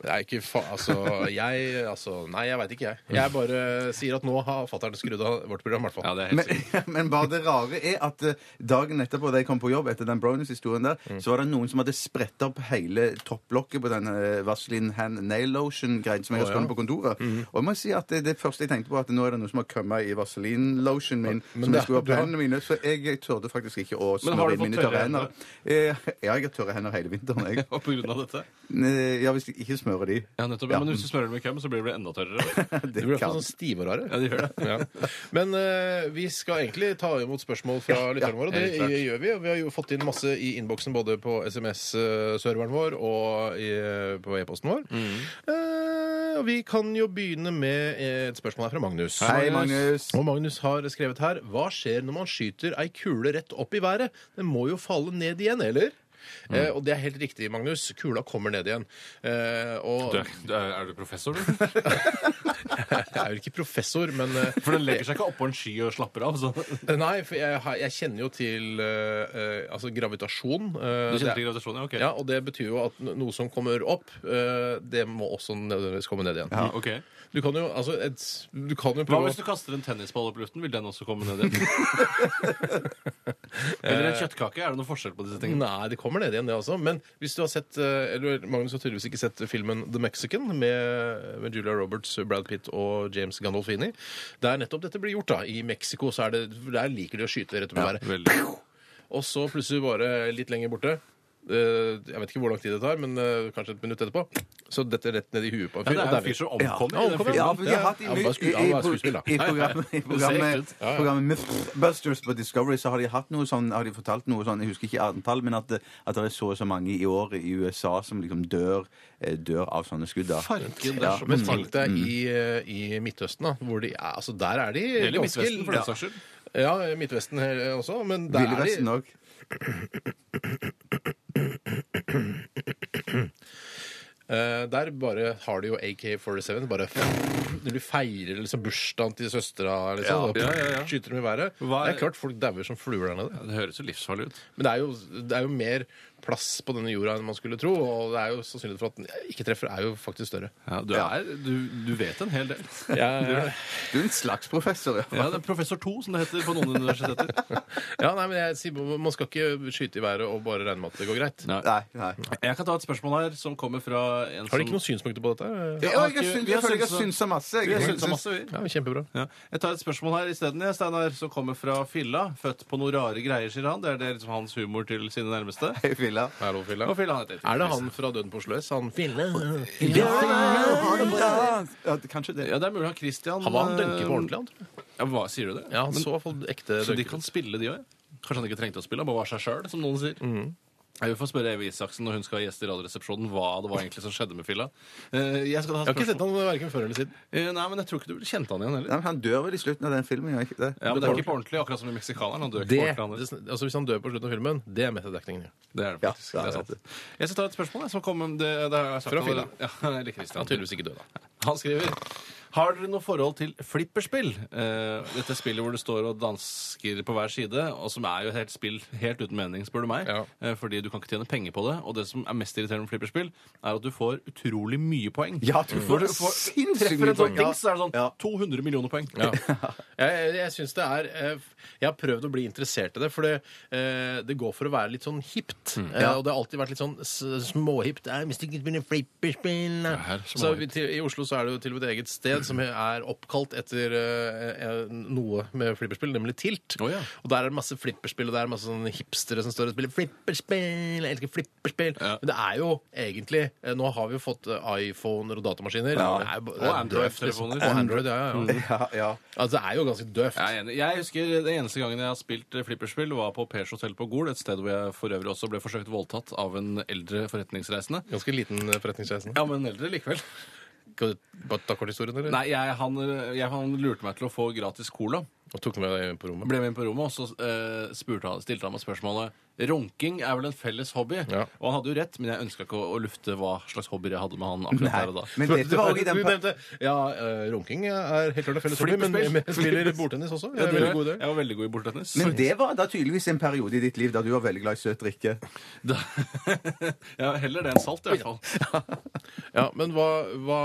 Det er ikke fa... Altså, jeg altså, Nei, jeg veit ikke, jeg. Jeg bare sier at nå har fatter'n skrudd av vårt program, i hvert fall.
Men, men bare det rare er at eh, dagen etterpå da jeg kom på jobb, etter den brownies-historien der, så var det noen som hadde spredt opp hele topplokket på denne Vaseline Hand Nail Lotion-greien som jeg
Å,
har
ja.
stående på kontoret. Og jeg må si at det, det første jeg tenkte på, at nå er det noen som har kommet i Vaseline-lotionen min,
men
som
det-
jeg skulle ha
du
på
har-
hendene mine, så jeg tørde faktisk ikke å
Men har
smøre
du
inn mine
fått
tørre
tørre
hender. Eh, Ja, jeg har tørre hender hele vinteren, jeg.
Og på grunn av dette?
Eh, Ja, hvis jeg ikke smører de.
Ja, nettopp. Men hvis du smører det med køm, så blir det enda tørrere.
Det blir i hvert fall sånn stivere.
Ja, det gjør det.
Ja. Men eh, vi skal egentlig ta imot spørsmål fra lytterne våre, og
helt
det
klart.
gjør vi. og Vi har jo fått inn masse i innboksen både på SMS-serveren vår og i, på e-posten vår.
Mm.
Eh, og vi kan jo begynne med et spørsmål her fra Magnus.
Hei, Magnus.
Og Magnus har skrevet her Hva skjer når man skyter ei kule rett opp i været? Den må jo falle ned igjen, eller?
Mm.
Eh, og det er helt riktig, Magnus. Kula kommer ned igjen. Eh, og
Du er, du er, er du professor, du?
jeg er jo ikke professor, men eh,
For den legger seg ikke oppå en sky og slapper av. Så.
Nei, for jeg, har- jeg kjenner jo til eh, eh, altså gravitasjon. eh,
Du kjenner
det er-
til gravitasjon, ja, ok.
Ja, Og det betyr jo at no- noe som kommer opp, eh, det må også nødvendigvis komme ned igjen.
Ja, ok.
Du kan jo altså et, Du kan jo
Hva
prøve
hvis du
å-
kaster en tennisball opp i luften? Vil den også komme ned igjen? Eller en kjøttkake? Er det noen forskjell på disse tingene?
Eh, Nei, det kommer ned igjen, det også. Men hvis du har sett eh, eller Magnus har tydeligvis ikke sett filmen The Mexican med, med Julia Roberts, Brad Pitt og James Gandolfini. Der nettopp dette blir gjort, da. I Mexico så er det, der liker de å skyte rett og slett. Og så plutselig bare litt lenger borte. eh, jeg vet ikke hvor lang tid det tar, men eh, kanskje et minutt etterpå. Så dette rett ned i huet på
Ja,
en fyr.
det er
og
en
vi.
fyr som omkommer
Ja,
i den filmen.
ja,
Ja, for de har hatt i,
ja, han var sku-
i,
han var
i,
skuespiller.
i, i programmet, i programmet,
Ja, ja.
programmet Mythbusters på Discovery så har de hatt noe sånn, har de fortalt noe sånn, jeg husker ikke antall, men at, det- at det er så og så mange i året i USA som liksom dør, eh, dør av sånne skudd. da.
Farken, det er
Ja,
så
Men
mm.
tenk deg i, eh, i Midtøsten, da. Hvor de er, altså, der er de
Eller
ganske-
Midtvesten, for
ja.
den saks skyld.
Ja, Midtvesten he- også, men der
Ville
er
Vesten
de
òg.
Eh, Der bare har de jo AK-47. Bare Når du feirer liksom bursdagen til søstera, liksom,
Ja,
da
ja, ja, ja.
skyter dem i været.
Hva er-
Det er klart folk dauer som fluer der nede.
Det høres jo livsfarlig ut.
Men det er, jo, det er jo mer plass på denne jorda enn man skulle tro, og det er jo sannsynligheten for at den ikke treffer, er jo faktisk større.
Ja, du, er, du, du vet en hel del.
Ja,
Du er en slags professor, ja.
Ja, det er Professor 2, som det heter på noen universiteter.
ja nei, men jeg sier, Man skal ikke skyte i været og bare regne med at det går greit.
Nei.
Nei, nei.
Jeg kan ta et spørsmål her som kommer fra en som
Har de ikke noen synspunkter på dette? her?
Ja,
har
jeg har
ikke-
syns-
vi har
jeg føler jeg
synsa-
har synsa masse.
Vi har
Jeg
synsa
syns-
masse, vi.
Ja, Kjempebra.
Ja. Jeg tar et spørsmål her isteden, jeg, Steinar, som kommer fra Filla. Født på noen rare greier, sier han. Det er det liksom hans humor til sine nærmeste.
Hei, Filla.
Hallo, Filla.
Og Filla han heter.
Er det han fra Døden på Sløs? Han Fille?
Ja, kanskje det.
Ja, det er mulig han Christian eh,
Han var han dunker på ordentlig, han. tror jeg.
Ja, hva, sier du det?
Ja, han så i hvert fall ekte
så de
dunker.
kan spille, de òg? Kanskje han ikke trengte å spille, han bare var seg sjøl, som noen sier. Jeg vil få spørre Evy Isaksen når hun skal gjeste i Radioresepsjonen, hva det var egentlig som skjedde med Filla. Eh, Jeg, skal ha
Jeg har ikke
spørsmål.
sett han verken før eller siden.
Eh, Nei, men jeg tror ikke du ville kjent han igjen heller.
Nei, men han dør vel i slutten av den filmen? gjør han ikke det?
Ja, men det er ikke på ordentlig, akkurat som i meksikaneren. Han dør ikke
Det,
på ordentlig. han.
altså Hvis han dør på slutten av filmen, det er metadekningen.
Det er det faktisk. det er sant. Jeg skal ta et spørsmål jeg, som kom det, det har jeg sagt
Fra
allerede.
Filla.
Ja, eller Christian.
Han er tydeligvis ikke død, da.
Han skriver Har dere noe forhold til flipperspill? Eh, dette spillet hvor det står og dansker på hver side, og som er jo et helt spill helt uten mening, spør du meg. Eh, fordi du kan ikke tjene penger på det. Og det som er mest irriterende med flipperspill, er at du får utrolig mye poeng.
Ja, du får
Når
sinnssykt
treffer
mye
en
poeng.
sånn dings, så er det sånn 200 millioner poeng.
Jeg, jeg synes det er eh, Jeg har prøvd å bli interessert i det, for det, eh, det går for å være litt sånn hipt.
Mm.
Eh,
Ja.
Og det har alltid vært litt sånn s- småhipt. Eh, Hvis du ikke spiller flipperspill da.
her,
eh. Så
småhipt.
vi, til, I Oslo så er det jo til og med et eget sted som er oppkalt etter eh, eh, noe med flipperspill, nemlig Tilt. Og der er det masse flipperspill, og det er masse sånne hipstere som står og spiller flipperspill. Jeg elsker flipperspill. Men det er jo egentlig eh, Nå har vi jo fått eh, iPhoner og datamaskiner.
Ja.
Det er jo-
Og
det er
Android-telefoner.
døvt, liksom. Og Android, ja,
Mm.
ja. ja. Altså, det er jo ganske døvt.
Jeg, er enig. jeg husker Den eneste gangen jeg har spilt eh, flipperspill, var på Pers hotell på Gol. Et sted hvor jeg for øvrig også ble forsøkt voldtatt av en eldre forretningsreisende.
Ganske liten forretningsreisende.
Ja, men eldre likevel.
Skal du bare ta korthistorien, eller?
Nei, jeg, han, jeg, han lurte meg til å få gratis cola.
Og tok med deg på rommet?
Ble med inn på rommet, og så eh, spurte han, stilte han meg spørsmålet Runking er vel en felles hobby? Og han hadde jo rett, men jeg ønska ikke å, å lufte hva slags hobbyer jeg hadde med han akkurat
Nei,
der og da.
men dette var jo ikke den Du nevnte- Ja, eh, runking er helt klart en felles hobby, men men jeg spiller bordtennis også. Jeg
Ja,
er
du
veldig
er.
god i det.
Jeg var veldig god i bordtennis.
Men det var da tydeligvis en periode i ditt liv da du var veldig glad i søt drikke.
Ja, heller det enn salt, i hvert fall.
Ja, men hva, hva,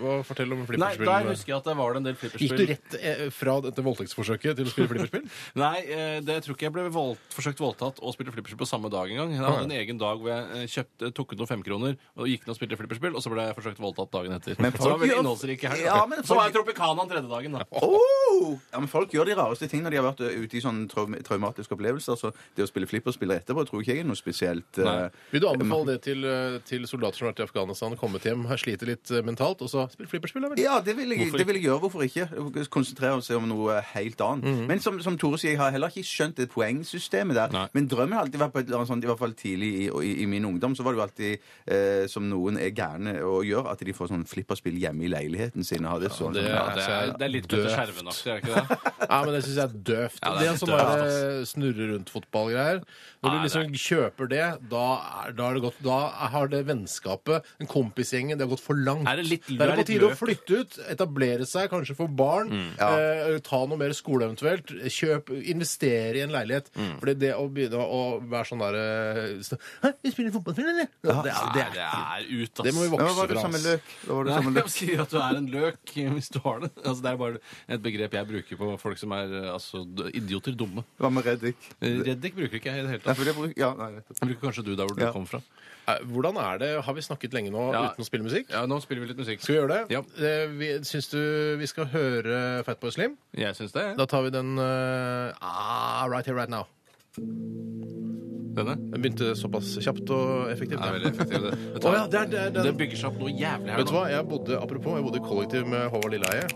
hva Fortell om
Nei,
flipperspill.
da husker jeg at det var en del
Gikk
flipperspill.
du rett eh, fra dette voldtektsforsøket til å spille flipperspill?
Nei, eh, det tror ikke jeg ble vold, forsøkt voldtatt og spilte flipperspill på samme dag engang. Jeg hadde en egen dag hvor jeg eh, kjøpte, tok ut noen femkroner og gikk ned og spilte flipperspill, og så ble jeg forsøkt voldtatt dagen etter.
Men
så det var
folk
veldig
gjør-
innholdsrik helg. altså.
Ja, men
Så
folk-
var jeg Tropicanaen tredje dagen, da.
Oh! Ja, men folk gjør de rareste ting når de har vært ø, ute i sånne traum traumatiske opplevelser. Så det å spille flipperspill etterpå tror ikke jeg er noe spesielt.
Nei.
eh,
Vil du anbefale det til, eh, til soldater som har vært i Afghanistan, kommet hjem, har slitt litt eh, mentalt, og så spill flipperspill? da vel?
Ja, det vil, jeg, det vil jeg gjøre. Hvorfor ikke? Konsentrere seg om noe eh, helt annet. Men som, som Tore sier, jeg har heller ikke skjønt det poengsystemet der. Men drømmen har alltid vært på et eller annet sånt, i hvert fall tidlig i, i, i min ungdom, så var det jo alltid eh, som noen er gærne og gjør, at de får sånn flipperspill hjemme i leiligheten sin. og har det, sånn,
det,
sånn,
ja, det, er, det er litt Petter
døvt.
Skjerven-aktig, er det ikke det?
Ja, men det syns jeg er døvt.
Ja,
det
det
er
er
sånn
døvt,
der, eh, snurre rundt fotballgreier. Når du
Nei,
liksom kjøper det, da, er, da er det godt. Da har det vennskapet, den kompisgjengen, det har gått for langt.
Er det litt-
Da er
er det
det på
litt
tide å
løp?
flytte ut, etablere seg, kanskje få barn,
Mm. Ja.
eh, ta noe mer skole eventuelt, kjøp, investere i en leilighet.
Mm.
Fordi det å begynne å være sånn derre Hæ, vi spiller fotballspill, eller? Det, er, det, er,
er ut, ass.
Det må vi vokse Men hva var det fra, samme ass. løk? Da var det samme løk.
Nei, jeg sier at du er en løk hvis du har det. Altså, det er bare et begrep jeg bruker på folk som er eh, altså, d- idioter dumme. Eh,
Hva med Reddik?
Reddik bruker ikke jeg i det hele tatt.
Nei, for det bruk- ja, nei, nettopp.
bruker kanskje du der hvor du
Ja.
kom fra.
Eh, Hvordan er det? Har vi snakket lenge nå
Ja.
uten å spille musikk?
Ja, nå spiller vi litt musikk.
Skal vi gjøre det? Eh, vi, syns du vi skal høre Fatboy Slim?
Jeg syns det.
Da tar vi den eh, ah, Right here, right now.
Denne?
Den begynte såpass kjapt og effektivt.
Det er veldig effektivt. Det, det,
Å ja, det, er- det, er den.
det bygger seg opp noe jævlig her
Vet du hva, jeg bodde, apropos, jeg bodde i kollektiv med Håvard Lilleheie.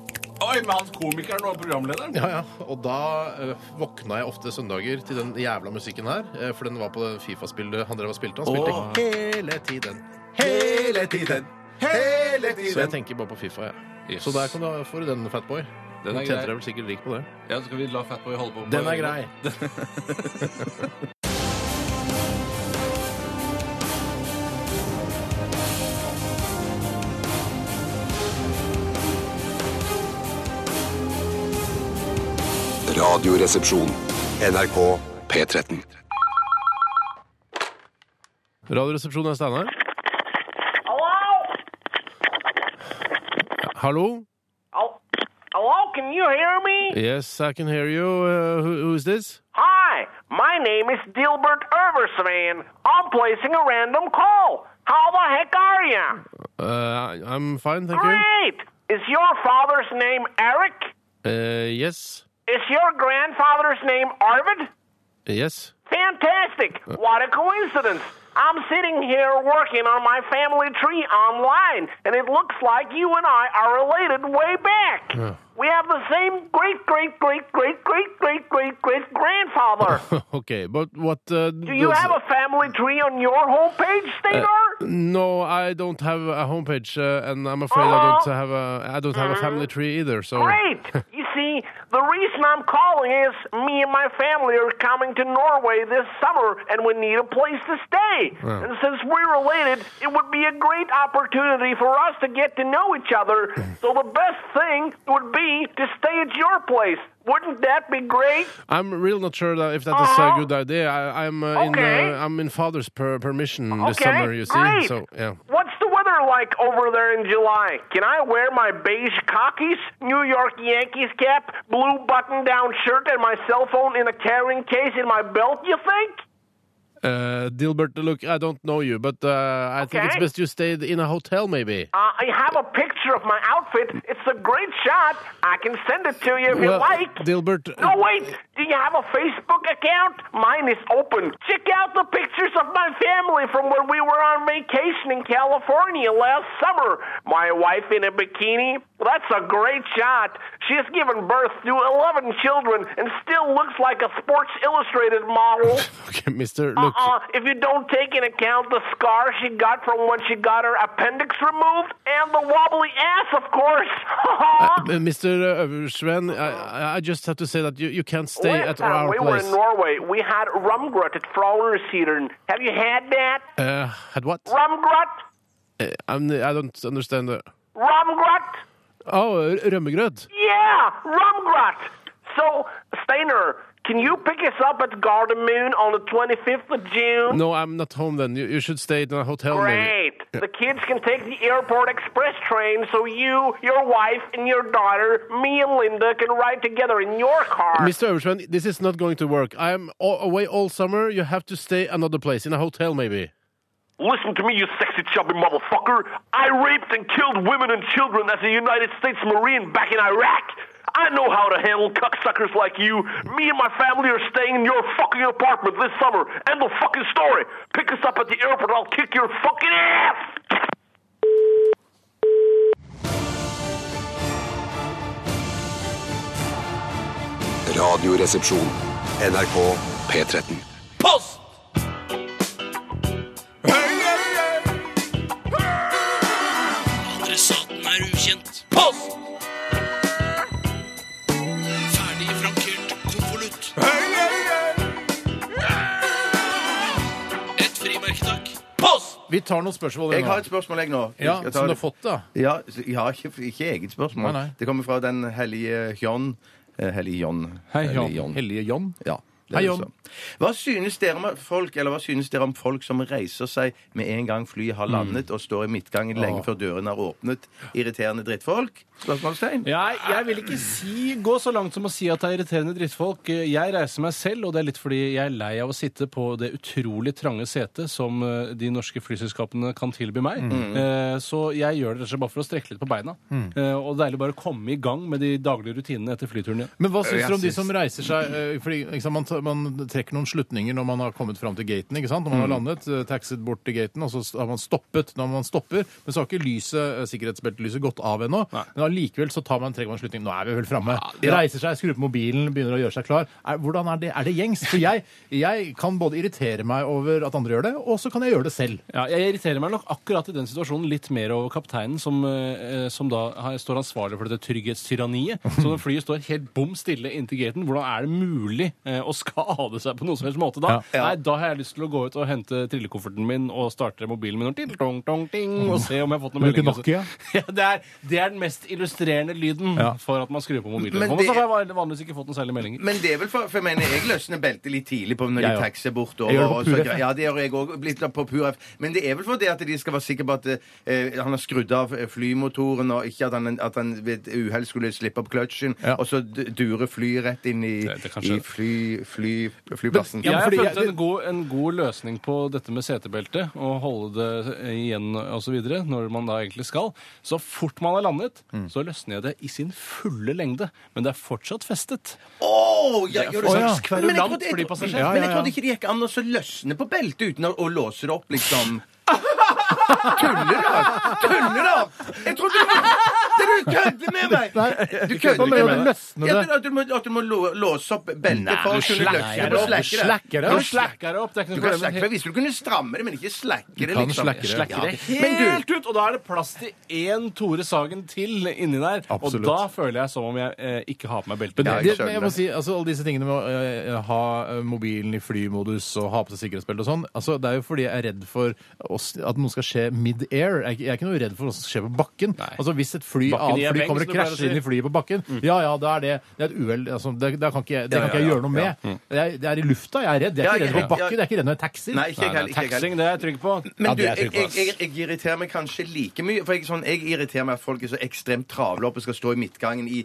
Oi, med han komikeren og programlederen?
Ja, ja. Og da eh, våkna jeg ofte søndager til den jævla musikken her. eh, for den var på det Fifa-spillet han drev og spilte. Han spilte
Åh.
hele tiden.
Hele tiden! Hele tiden!
Så jeg tenker bare på Fifa, jeg.
Yes.
Så der kan du, får du den, Fatboy.
Den
Den
er
tjente
grei.
deg vel sikkert rik på det.
Ja, så skal vi la Fatboy holde på.
Den er grei.
Radioresepsjon. NRK P13.
Radioresepsjonen er Steinar. Hallo?
Hello, can you hear me?
Yes, I can hear you. Uh, who, who is this?
Hi, my name is Dilbert Erversman. I'm placing a random call. How the heck are you?
Uh, I- I'm fine, thank you.
Great! Is your father's name Eric?
Uh, yes,
Is your grandfather's name Arvid?
yes.
Fantastic! What a coincidence! I'm sitting here working on my family tree online, and it looks like you and I are related way back. We have the same great, great, great, great, great, great, great, great grandfather.
okay, but what uh,
Do you have a family tree on your homepage, Steinar?
Uh, no, I don't have a homepage, uh, and I'm afraid I don't have a I don't have a family tree either. So
Oh. Mm-hmm. Great! You see, the reason I'm calling is me and my family are coming to Norway this summer, and we need a place to stay.
Yeah.
And since we're related, it would be a great opportunity for us to get to know each other. so the best thing would be to stay at your place. Wouldn't that be great?
I'm real not sure that if that is a good idea. I, I'm uh,
Oh. Okay.
in uh, I'm in father's per permission this
Okay,
summer. You see,
great.
so yeah.
What's the weather like over there in July? Can I wear my beige cockies, New York Yankees cap, blue button down shirt, and my cell phone in a carrying case in my belt, you think?
Uh, Dilbert, look, I don't know you, but uh, I think it's
Okay.
best you stay in a hotel, maybe.
Uh, I have a picture of my outfit. It's a great shot. I can send it to you if you
Well,
like.
Dilbert, uh,
No, wait. Do you have a Facebook account? Mine is open. Check out the pictures of my family from when we were on vacation in California last summer. My wife in a bikini. That's a great shot. She's given birth to 11 children and still looks like a Sports Illustrated model.
okay, Mister, look,
Uh-uh. If you don't take in account the scar she got from when she got her appendix removed and the wobbly ass, of course. Ah.
uh, Mister Sven, I, I just have to say that you, you can't stay
Last
at
time
our
we were
place.
in Norway, we had rumgrut at Frognerseteren. Have you had that?
uh, had what?
Rumgrut?
Uh, I'm, I don't understand. The...
Rumgrut?
Oh, uh, rømmegrøt.
Yeah, rumgrut. So, Steiner, can you pick us up at Garden Moon on the 25th of June?
No, I'm not home then. You, you should stay in a hotel.
Great. The kids can take the airport express train so you, your wife, and your daughter, me and Linda, can ride together in your car.
Maybe. Mr. Eversman, this is not going to work. I'm a- away all summer. You have to stay another place, in a hotel maybe.
Listen to me, you sexy chubby motherfucker. I raped and killed women and children as a United States Marine back in Iraq. I know how to handle cocksuckers like you. Me and my family are staying in your fucking apartment this summer. End of fucking story. Pick us up at the airport. I'll kick your fucking ass.
Radioresepsjon. NRK P13.
Post! Adressaten er ukjent. Post! Ferdig frankert konvolutt. Et frimerke, takk. Post!
Vi tar noen spørsmål.
Jeg har et spørsmål, jeg, nå.
Ja,
Jeg tar
Som du
det.
har fått, da.
Ja, s- jeg har ikke, ikke eget spørsmål.
Nei, nei.
Det kommer fra den hellige John. Eh, Hellige John.
Hei, John.
Hellige
John?
Ja. det er
Hei,
det
John.
sånn. Hva synes, dere om folk, eller hva synes dere om folk som reiser seg med en gang flyet har landet og står i midtgangen lenge
Mm. Åh.
før dørene er åpnet? Irriterende drittfolk? Spørsmålstegn?
Jeg, jeg vil ikke si, gå så langt som å si at det er irriterende drittfolk. Jeg reiser meg selv, og det er litt fordi jeg er lei av å sitte på det utrolig trange setet som eh, de norske flyselskapene kan tilby meg.
Mm.
Eh, Så jeg gjør det rett og slett bare for å strekke litt på beina.
Mm.
Eh, Og deilig bare å komme i gang med de daglige rutinene etter flyturen igjen.
Men hva syns dere om de som reiser seg eh, fordi, ikke sant, man, tar- man trekker noen slutninger når man har kommet fram til gaten. ikke sant? Når man har
Mm.
landet, eh, taxet bort til gaten, og så har man stoppet når man stopper. Men så har ikke lyset, eh, sikkerhetsbeltelyset gått av ennå. Men allikevel så tar man, trekker man en slutning. Nå er vi vel framme.
ja.
Reiser seg, skrur på mobilen, begynner å gjøre seg klar. Er, hvordan er det? Er det gjengs? For jeg, jeg kan både irritere meg over at andre gjør det, og så kan jeg gjøre det selv.
Ja, jeg irriterer meg nok akkurat i den situasjonen litt mer over kapteinen, som, eh, som da har- står ansvarlig for dette trygghetstyranniet. Så når flyet står helt bom stille inntil gaten, hvordan er det mulig eh, å skade seg på noen som helst måte da?
Ja.
Nei, da har jeg lyst til å gå ut og hente trillekofferten min og starte mobilen min og, ting, tong, tong, ting, og se om jeg har fått noen
Bruker
meldinger.
Nokia?
Ja, det, er, det er den mest illustrerende lyden
Ja.
for at man skrur på mobilen.
Men
Og
det-
så har jeg vanligvis ikke fått noen særlige meldinger.
Men det er vel for, for jeg mener, jeg løsner beltet litt tidlig på når
Jeg
de
òg.
taxer
Jeg
bortover.
gjør det på
og så-
pur F.
Ja, det gjør jeg òg. Litt på pur F. Men det er vel fordi at de skal være sikre på at eh, han har skrudd av flymotoren, og ikke at han, at han ved et uhell skulle slippe opp kløtsjen, og så d- durer flyet rett inn i, i fly, fly, flyplassen.
Men jeg har funnet en god, en god løsning på dette med setebelte, og holde det igjen osv. når man da egentlig skal. Så fort man har landet, så løsner jeg det i sin fulle lengde. Men det er fortsatt festet.
Åh,
Det
ja,
er
gjør
for
det
slags
sånn.
kverulant
Men jeg trodde-
for de passasjerene.
Men jeg
Ja, ja,
trodde
ja.
ikke det gikk an å så løsne på beltet uten å, å låse det opp, liksom. Tuller du? Tuller du? Jeg trodde du Det du kødder med meg! Du kødder
Hva mener du, løsne
Ja,
det?
at du må, at du må lå, låse opp beltet for å kunne løsne det.
opp. Du slacker det
Du
opp.
slacker det opp. Det er
Du
ikke
kan
noe problem.
slakke-
Jeg visste du kunne stramme det, men ikke slakke det.
kan
liksom.
slakke det. Slakke det
Ja. Men du,
helt ut, og da er det plass til én Tore Sagen til inni der.
Absolutt.
Og da føler jeg som om jeg eh, ikke har på meg belte.
Men det, men jeg må si, altså, alle disse tingene med å eh, ha eh, mobilen i flymodus og ha på seg sikkerhetsbelte og sånn, altså, det er jo fordi jeg er redd for oss, at noe skal skje mid-air. Jeg, er ikke- jeg er ikke noe redd for hva som skjer på bakken. Altså, hvis et fly,
Bakken i
annet
er
fly
beng,
kommer og
som du pleier å
krasjer inn
si.
i flyet på bakken, ja ja, da er det, det er et uhell. Altså, det, da kan ikke, jeg- det
Ja,
kan ikke jeg
ja, ja.
gjøre noe med.
Ja.
Jeg, det er i lufta jeg er redd. Jeg er
Ja,
ikke
jeg-
redd for bakken, jeg er ikke redd når jeg taxier.
Nei, ikke jeg heller, ikke jeg heller. Taxiing,
det er jeg trygg på.
Men du, jeg, jeg, jeg, jeg irriterer meg kanskje like mye. For jeg, sånn, jeg irriterer meg at folk er så ekstremt travle opp og skal stå i midtgangen i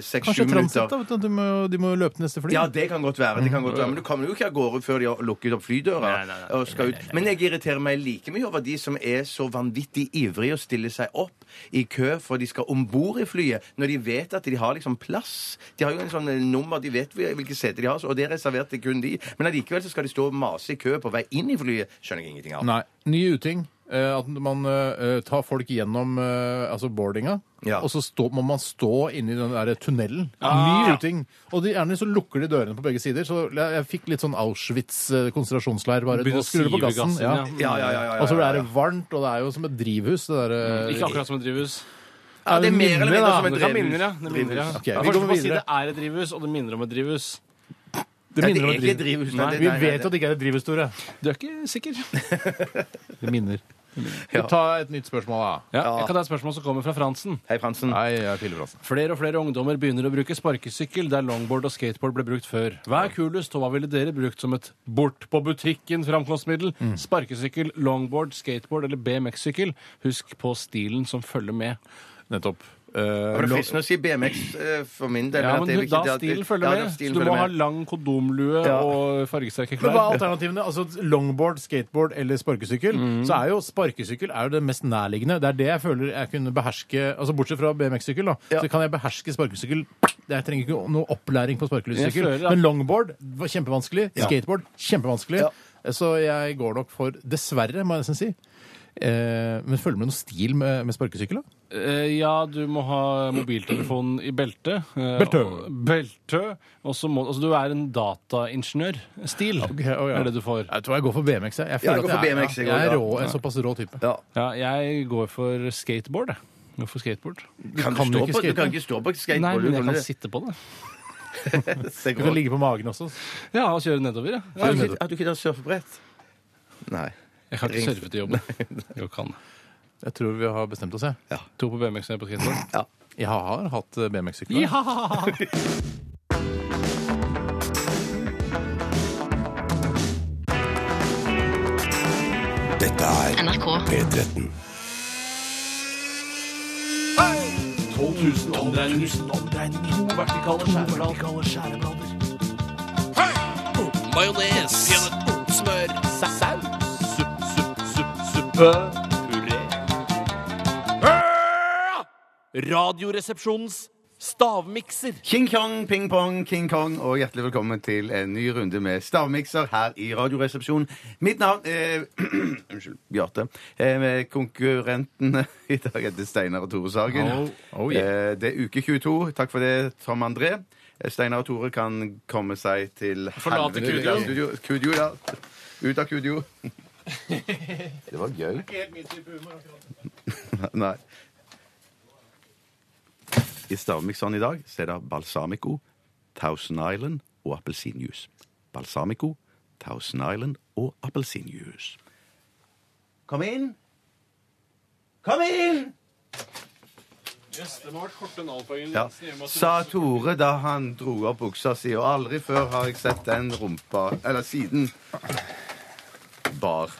seks-sju
Kanskje transit,
minutter.
da. Vet du, de, må, de må jo løpe til neste fly.
Ja, det kan godt være. det kan godt
Mm.
være Men du kommer jo ikke av gårde før de har lukket opp flydøra. og skal ut. Men jeg irriterer meg like mye over de som er så vanvittig ivrige og stiller seg opp i kø for de skal om bord i flyet, når de vet at de har liksom plass. De har jo en sånn eh, nummer, de vet hvilke seter de har, så- og det er reservert til kun de. Men allikevel så skal de stå og mase i kø på vei inn i flyet. Skjønner jeg ingenting av.
Nei. Ny uting. eh, At man eh, tar folk gjennom eh, altså boardinga, og så stå, må man stå inni den der tunnelen.
Ah.
Ny uting. Og de, gjerne så lukker de dørene på begge sider. Så jeg, jeg fikk litt sånn Auschwitz eh, konsentrasjonsleir. Bare
Begynner
nå
å
skrur du
sive
på gassen.
gassen, ja. Ja, ja, ja, ja, ja,
Og så er det
ja,
varmt, og det er jo som et drivhus. Det der, eh,
Mm, Ikke akkurat som et drivhus.
Ja, det er mer eller mindre
da.
som et
Det kan
drivhus.
minner, ja. Det minner, ja.
Drivhus. Ok,
Det er
vi
forskjell
går
på å si
videre.
det er et drivhus, og det minner om et drivhus.
Det minner om et drivhus.
Nei,
vi vet jo at det ikke er et drivhus, Tore.
Du er ikke sikker.
Det minner.
Ja.
Ta et nytt spørsmål, da.
Ja, jeg kan ta et spørsmål som kommer fra Fransen.
Hei, Fransen.
Nei, jeg er Pillefransen.
Flere og flere ungdommer begynner å bruke sparkesykkel der longboard og skateboard ble brukt før. Hva er kulest, og hva ville dere brukt som et bort på butikken-framkomstmiddel?
Mm.
Sparkesykkel, longboard, skateboard eller BMX-sykkel? Husk på stilen som følger med.
Nettopp. Eh,
Det var fristende å si BMX eh, for min del.
Ja,
at det er
men du,
viktig
da
at-
stilen følger
Ja, da
med. Så
stilen
du
følger
må
med.
ha lang kondomlue
Ja.
og fargesterke
Men hva er
klær.
alternativene? Altså Longboard, skateboard eller sparkesykkel? Så er jo sparkesykkel er jo det mest nærliggende. Det er det jeg føler jeg kunne beherske altså Bortsett fra BMX-sykkel, da. Så kan jeg beherske sparkesykkel. Jeg trenger ikke noe opplæring på
Jeg
sparkesykkel.
føler at-
Men longboard var kjempevanskelig.
Ja.
Skateboard kjempevanskelig. Så jeg går nok for Dessverre, må jeg nesten si. Eh, men følger med noe stil med, med sparkesykkel, da?
Eh, Ja, du må ha mobiltelefonen i beltet. eh,
Belte.
og- Belte. Og så må Altså, du er en dataingeniør-stil.
ja.
Er det du får.
Jeg tror jeg går for BMX. Jeg, jeg føler at jeg, er- jeg, er rå, en såpass rå type.
Ja, jeg går for skateboard, jeg. jeg. går For skateboard.
Kan du ikke skate?
Nei, men jeg kan sitte på det.
Du kan ligge på magen også.
Ja, og kjøre nedover, ja. Ja,
Kjøre nedover.
Er du ikke da surfebrett? Nei.
Jeg kan ikke surfe til jobb. Jeg kan.
Jeg tror vi har bestemt oss, jeg.
To på BMX og en på skateboard.
Jeg har hatt
eh,
BMX-sykkel.
Dette er P13.
12 000 omdreininger. 000 omdreininger. To vertikale skjæreblader.
Majones. Smør. Saus. Supp, supp, supp, suppe. Puré.
Radioresepsjonens stavmikser. King Kong, ping pong, King Kong, og hjertelig velkommen til en ny runde med stavmikser her i Radioresepsjonen. Mitt navn er Unnskyld, Bjarte. Eh, med konkurrentene i dag heter Steinar og Tore Sagen.
Oh, oh yeah.
Eh, det er uke 22. Takk for det, Tom André. Eh, Steinar og Tore kan komme seg til
Forlate
helvete-
Kudio.
Ja, studio. Kudio, ja. Ut av kudio. Det var gøy. Nei. I stavmikseren i dag så er det balsamico, Thousand Island og appelsinjuice. Balsamico, Thousand Island og appelsinjuice. Kom inn! Kom inn!
Yes, det må ha vært korte nalpoengene.
Ja. Sa Tore da han dro opp buksa si, og aldri før har jeg sett den rumpa Eller siden bar.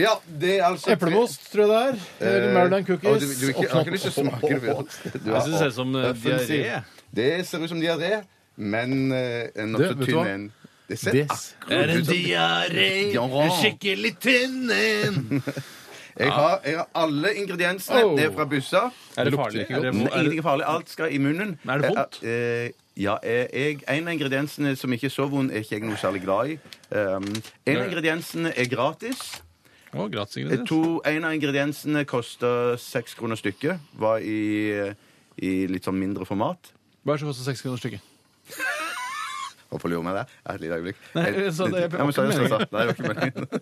Ja, det er altså
Eplemost, tror jeg det er. Eller
Eh,
Maryland
og
cookies.
Du, du, ikke, jeg har ikke lyst til å smake det. Bjørn. Du
Jeg
har-
synes det ser ut som, eh,
Øffen sier-
diaré.
Det ser ut som diaré, men eh, en
Det,
nokså
vet du
tynn
hva?
en. ser akkurat
er en
ut som-
diaré,
Ja.
en skikkelig tynn en.
Jeg har, jeg har alle ingrediensene.
Oh.
Det er fra bussa.
Er det farlig? Er det- er
Nei,
det-
ingenting er farlig. Alt skal i munnen.
Men er det vondt?
Eh, eh, ja, eh, jeg, en av ingrediensene som ikke er så vond, er ikke jeg noe særlig glad i. Um, en av
Nei.
ingrediensene er gratis.
Å, gratis ingrediens.
Eh, To, en av ingrediensene koster seks kroner stykket. Var i, i litt sånn mindre format.
Hva er det som koster seks kroner stykket?
Hvorfor lurer meg det? Et lite øyeblikk.
Nei,
Eh,
jeg sa det, jeg-
Ja, men så er det
det
sånn, så.
var ikke
Nei, det var ikke meningen.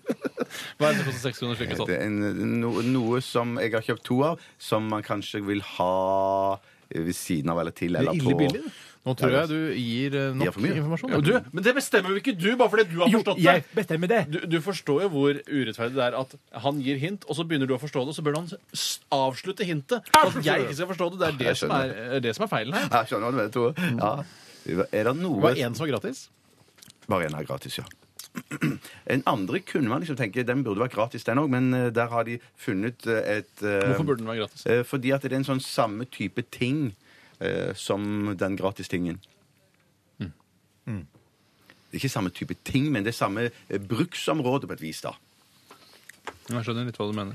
Hva er det som koster seks kroner stykket?
Det
Sånn?
er en, no, noe som jeg har kjøpt to av, som man kanskje vil ha ved siden av eller til. Eller på.
Nå tror jeg du gir eh,
Gir
nok
for mye.
informasjon.
Ja,
Og
du-
Men det bestemmer jo ikke du, bare fordi du har forstått det.
jeg
bestemmer det. Du, du forstår jo hvor urettferdig det er at han gir hint, og så begynner du å forstå det, og så bør han s- avslutte hintet. Og at jeg ikke skal forstå det. Det er det,
Jeg
som er, eh,
skjønner.
det som er feilen her.
Ja, skjønner hva du mener, Tore.
Mm.
Ja. Er det noe
Var en som var gratis?
Bare én er gratis, ja. En andre kunne man liksom tenke den burde vært gratis, den òg, men eh, der har de funnet eh, et eh,
Hvorfor burde den være gratis?
eh, Fordi at det er en sånn samme type ting eh, som den gratistingen.
Mm.
Det er ikke samme type ting, men det er samme eh, bruksområde på et vis, da.
Jeg skjønner litt hva du mener.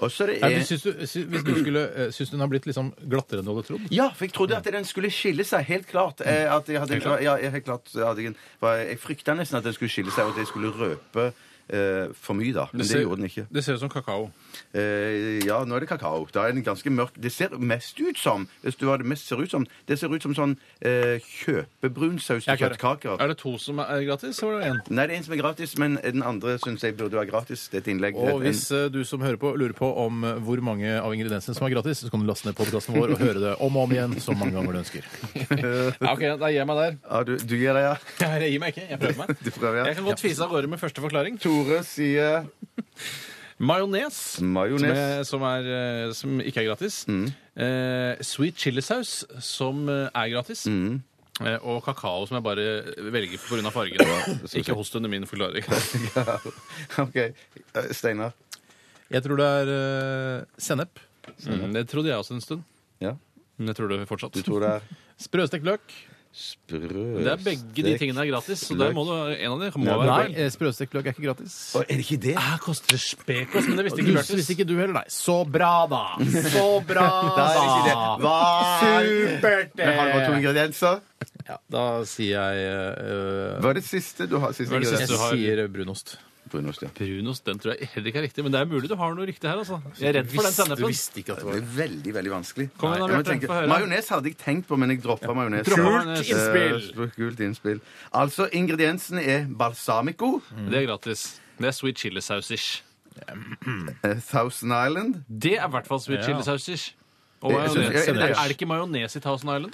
Og så er det
Nei, men syns du, sy- hvis du skulle, eh, syns du den har blitt liksom glattere enn du hadde trodd?
eh, Ja, for jeg trodde at den skulle skille seg, helt klart. Eh, At jeg, hadde,
Mm. Helt klart.
Ja, jeg, helt klart så hadde jeg, en- var- jeg frykta nesten at den skulle skille seg, og at jeg skulle røpe eh, for mye, da. Men det,
ser-
gjorde den ikke.
Det ser ut som kakao.
Eh, ja, nå er det kakao. Da er den ganske mørk. Det ser mest ut som hvis du hva det mest ser ut som, det ser ut som sånn eh, kjøpebrun saus til
Jeg klarer.
kjøttkaker.
Er det to som er gratis, eller er det én?
Nei, det er en som er gratis, men den andre syns jeg burde være gratis. Det er et innlegg.
Og hvis eh, du som hører på lurer på om eh, hvor mange av ingrediensene som er gratis, så kan du laste ned podkasten vår og høre det om og om igjen så mange ganger du ønsker.
Ja, ok, da gir jeg meg der.
Ja, du, du gir deg, ja?
Jeg gir meg ikke. Jeg prøver meg.
Du prøver, ja?
Jeg kan godt fise av gårde med første forklaring.
Tore sier
Majones.
Majones.
Som, er- som, er, eh, som ikke er gratis.
Mm.
Eh, sweet chilisaus, som eh, er gratis.
Mm.
Eh, og kakao, som jeg bare velger pga. fargen. ikke host under min forklaring.
OK. Eh, Steinar.
Jeg tror det er eh, sennep.
Mm, det trodde jeg også en stund.
Ja.
Men jeg tror det fortsatt.
Du tror det er
Sprøstekt løk.
Sprø...
Det er Begge de tingene er gratis, så der må du, en av de må være
Nei,
feil.
eh, sprøstekt løk er ikke gratis.
Og er det ikke det?
Ah, koster det spekos, men det visste
Du
ikke Bjarte.
visste ikke du heller, nei. Så bra, da! Så bra,
Da
da!
er det ikke det.
Supert!
Men har det vært to ingredienser?
Ja, da sier jeg eh,
Hva er det siste du har? Siste
Hva er det siste
Jeg
du har?
sier brunost.
Brunost, ja.
Brunost, den tror jeg heller ikke er riktig, men det er mulig du har noe riktig her, altså. Jeg er redd for den
Visste-
sennepen.
visste ikke at det var
Det er veldig, veldig vanskelig.
Kom
Jeg
igjen, da,
må
Bjarte,
tenke-
få høre.
Majones hadde jeg tenkt på, men jeg droppa majones.
Droppa majones. innspill.
Eh, kult innspill. Altså, ingrediensene er balsamico,
Det er gratis. Det er sweet chilisaus-ish.
eh, Thousand Island
Det er i hvert fall sweet
Ja.
chilisaus-ish. Og
Jeg synes-
majones.
jeg-
Er
jeg-
er det ikke majones i Thousand Island?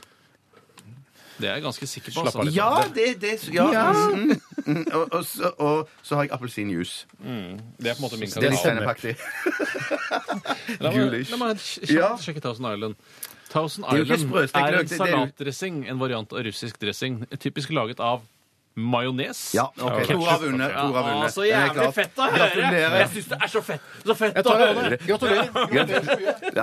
Det er jeg ganske sikker på. altså.
Ja, det det, ja.
Ja.
Mm, mm, og, og, så, og så har jeg appelsinjuice.
Det er på en måte min
Det er litt
kandidat.
sennepaktig.
La meg-
Gulish.
La meg kj-
Ja.
kjapt sjekke Thousand Island. Thousand
Det er jo ikke
Island
sprøstekt
er
løk,
en
det- det er jo-
salatdressing, en variant av russisk dressing, typisk laget av majones.
Ja, ok.
ketchup.
Tor har vunnet, Tor har
Ja,
vunnet.
så
Det er
jævlig
klart.
fett å høre!
Gratulerer.
Jeg syns det er så fett, så fett
Jeg
å
tar det.
høre!
Gratulerer. Ja,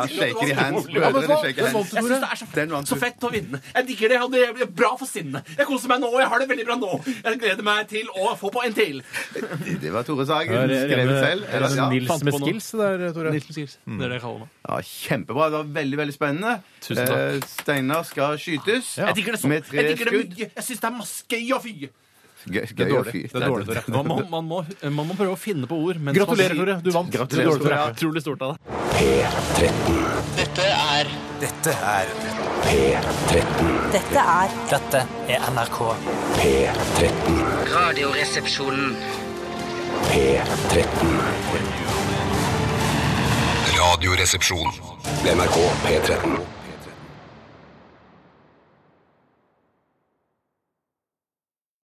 sånn
shaker de hands.
Ja, men
Brødrene
hva?
shaker
Den vant
hands.
du, Tore. Jeg synes det er så fett,
Den vant
så
du.
fett å vinne. Jeg digger det, og det er bra for sinnet. Jeg koser meg nå, og jeg har det veldig bra nå. Jeg gleder meg til å få på en til. sånn.
Det var Tore Sagen.
Er det- er det-
Skrevet selv.
er det
Ja.
Nils
Fant
med
på noe.
skills, det der, Tore?
Nils med skills. Det er det jeg kaller meg.
Ja, Kjempebra. Det var veldig veldig spennende.
Tusen takk.
Eh, Steinar skal skytes
Jeg digger det sånn.
med tre
Jeg digger det
skudd.
mye. Jeg syns det er masse gøy å fyre.
Gøy,
Det er
gøy å
dårlig.
fy.
Det er dårlig, Tore. Man, må- man, må, man må prøve å finne på ord. mens man
Gratulerer,
sier-
Tore. Du vant.
Gratulerer,
Dårlig, Tore.
Tore. Utrolig stort av deg.
Dette er Dette er
Dette er
Dette er NRK.
Radioresepsjonen.
Radioresepsjon. NRK P13.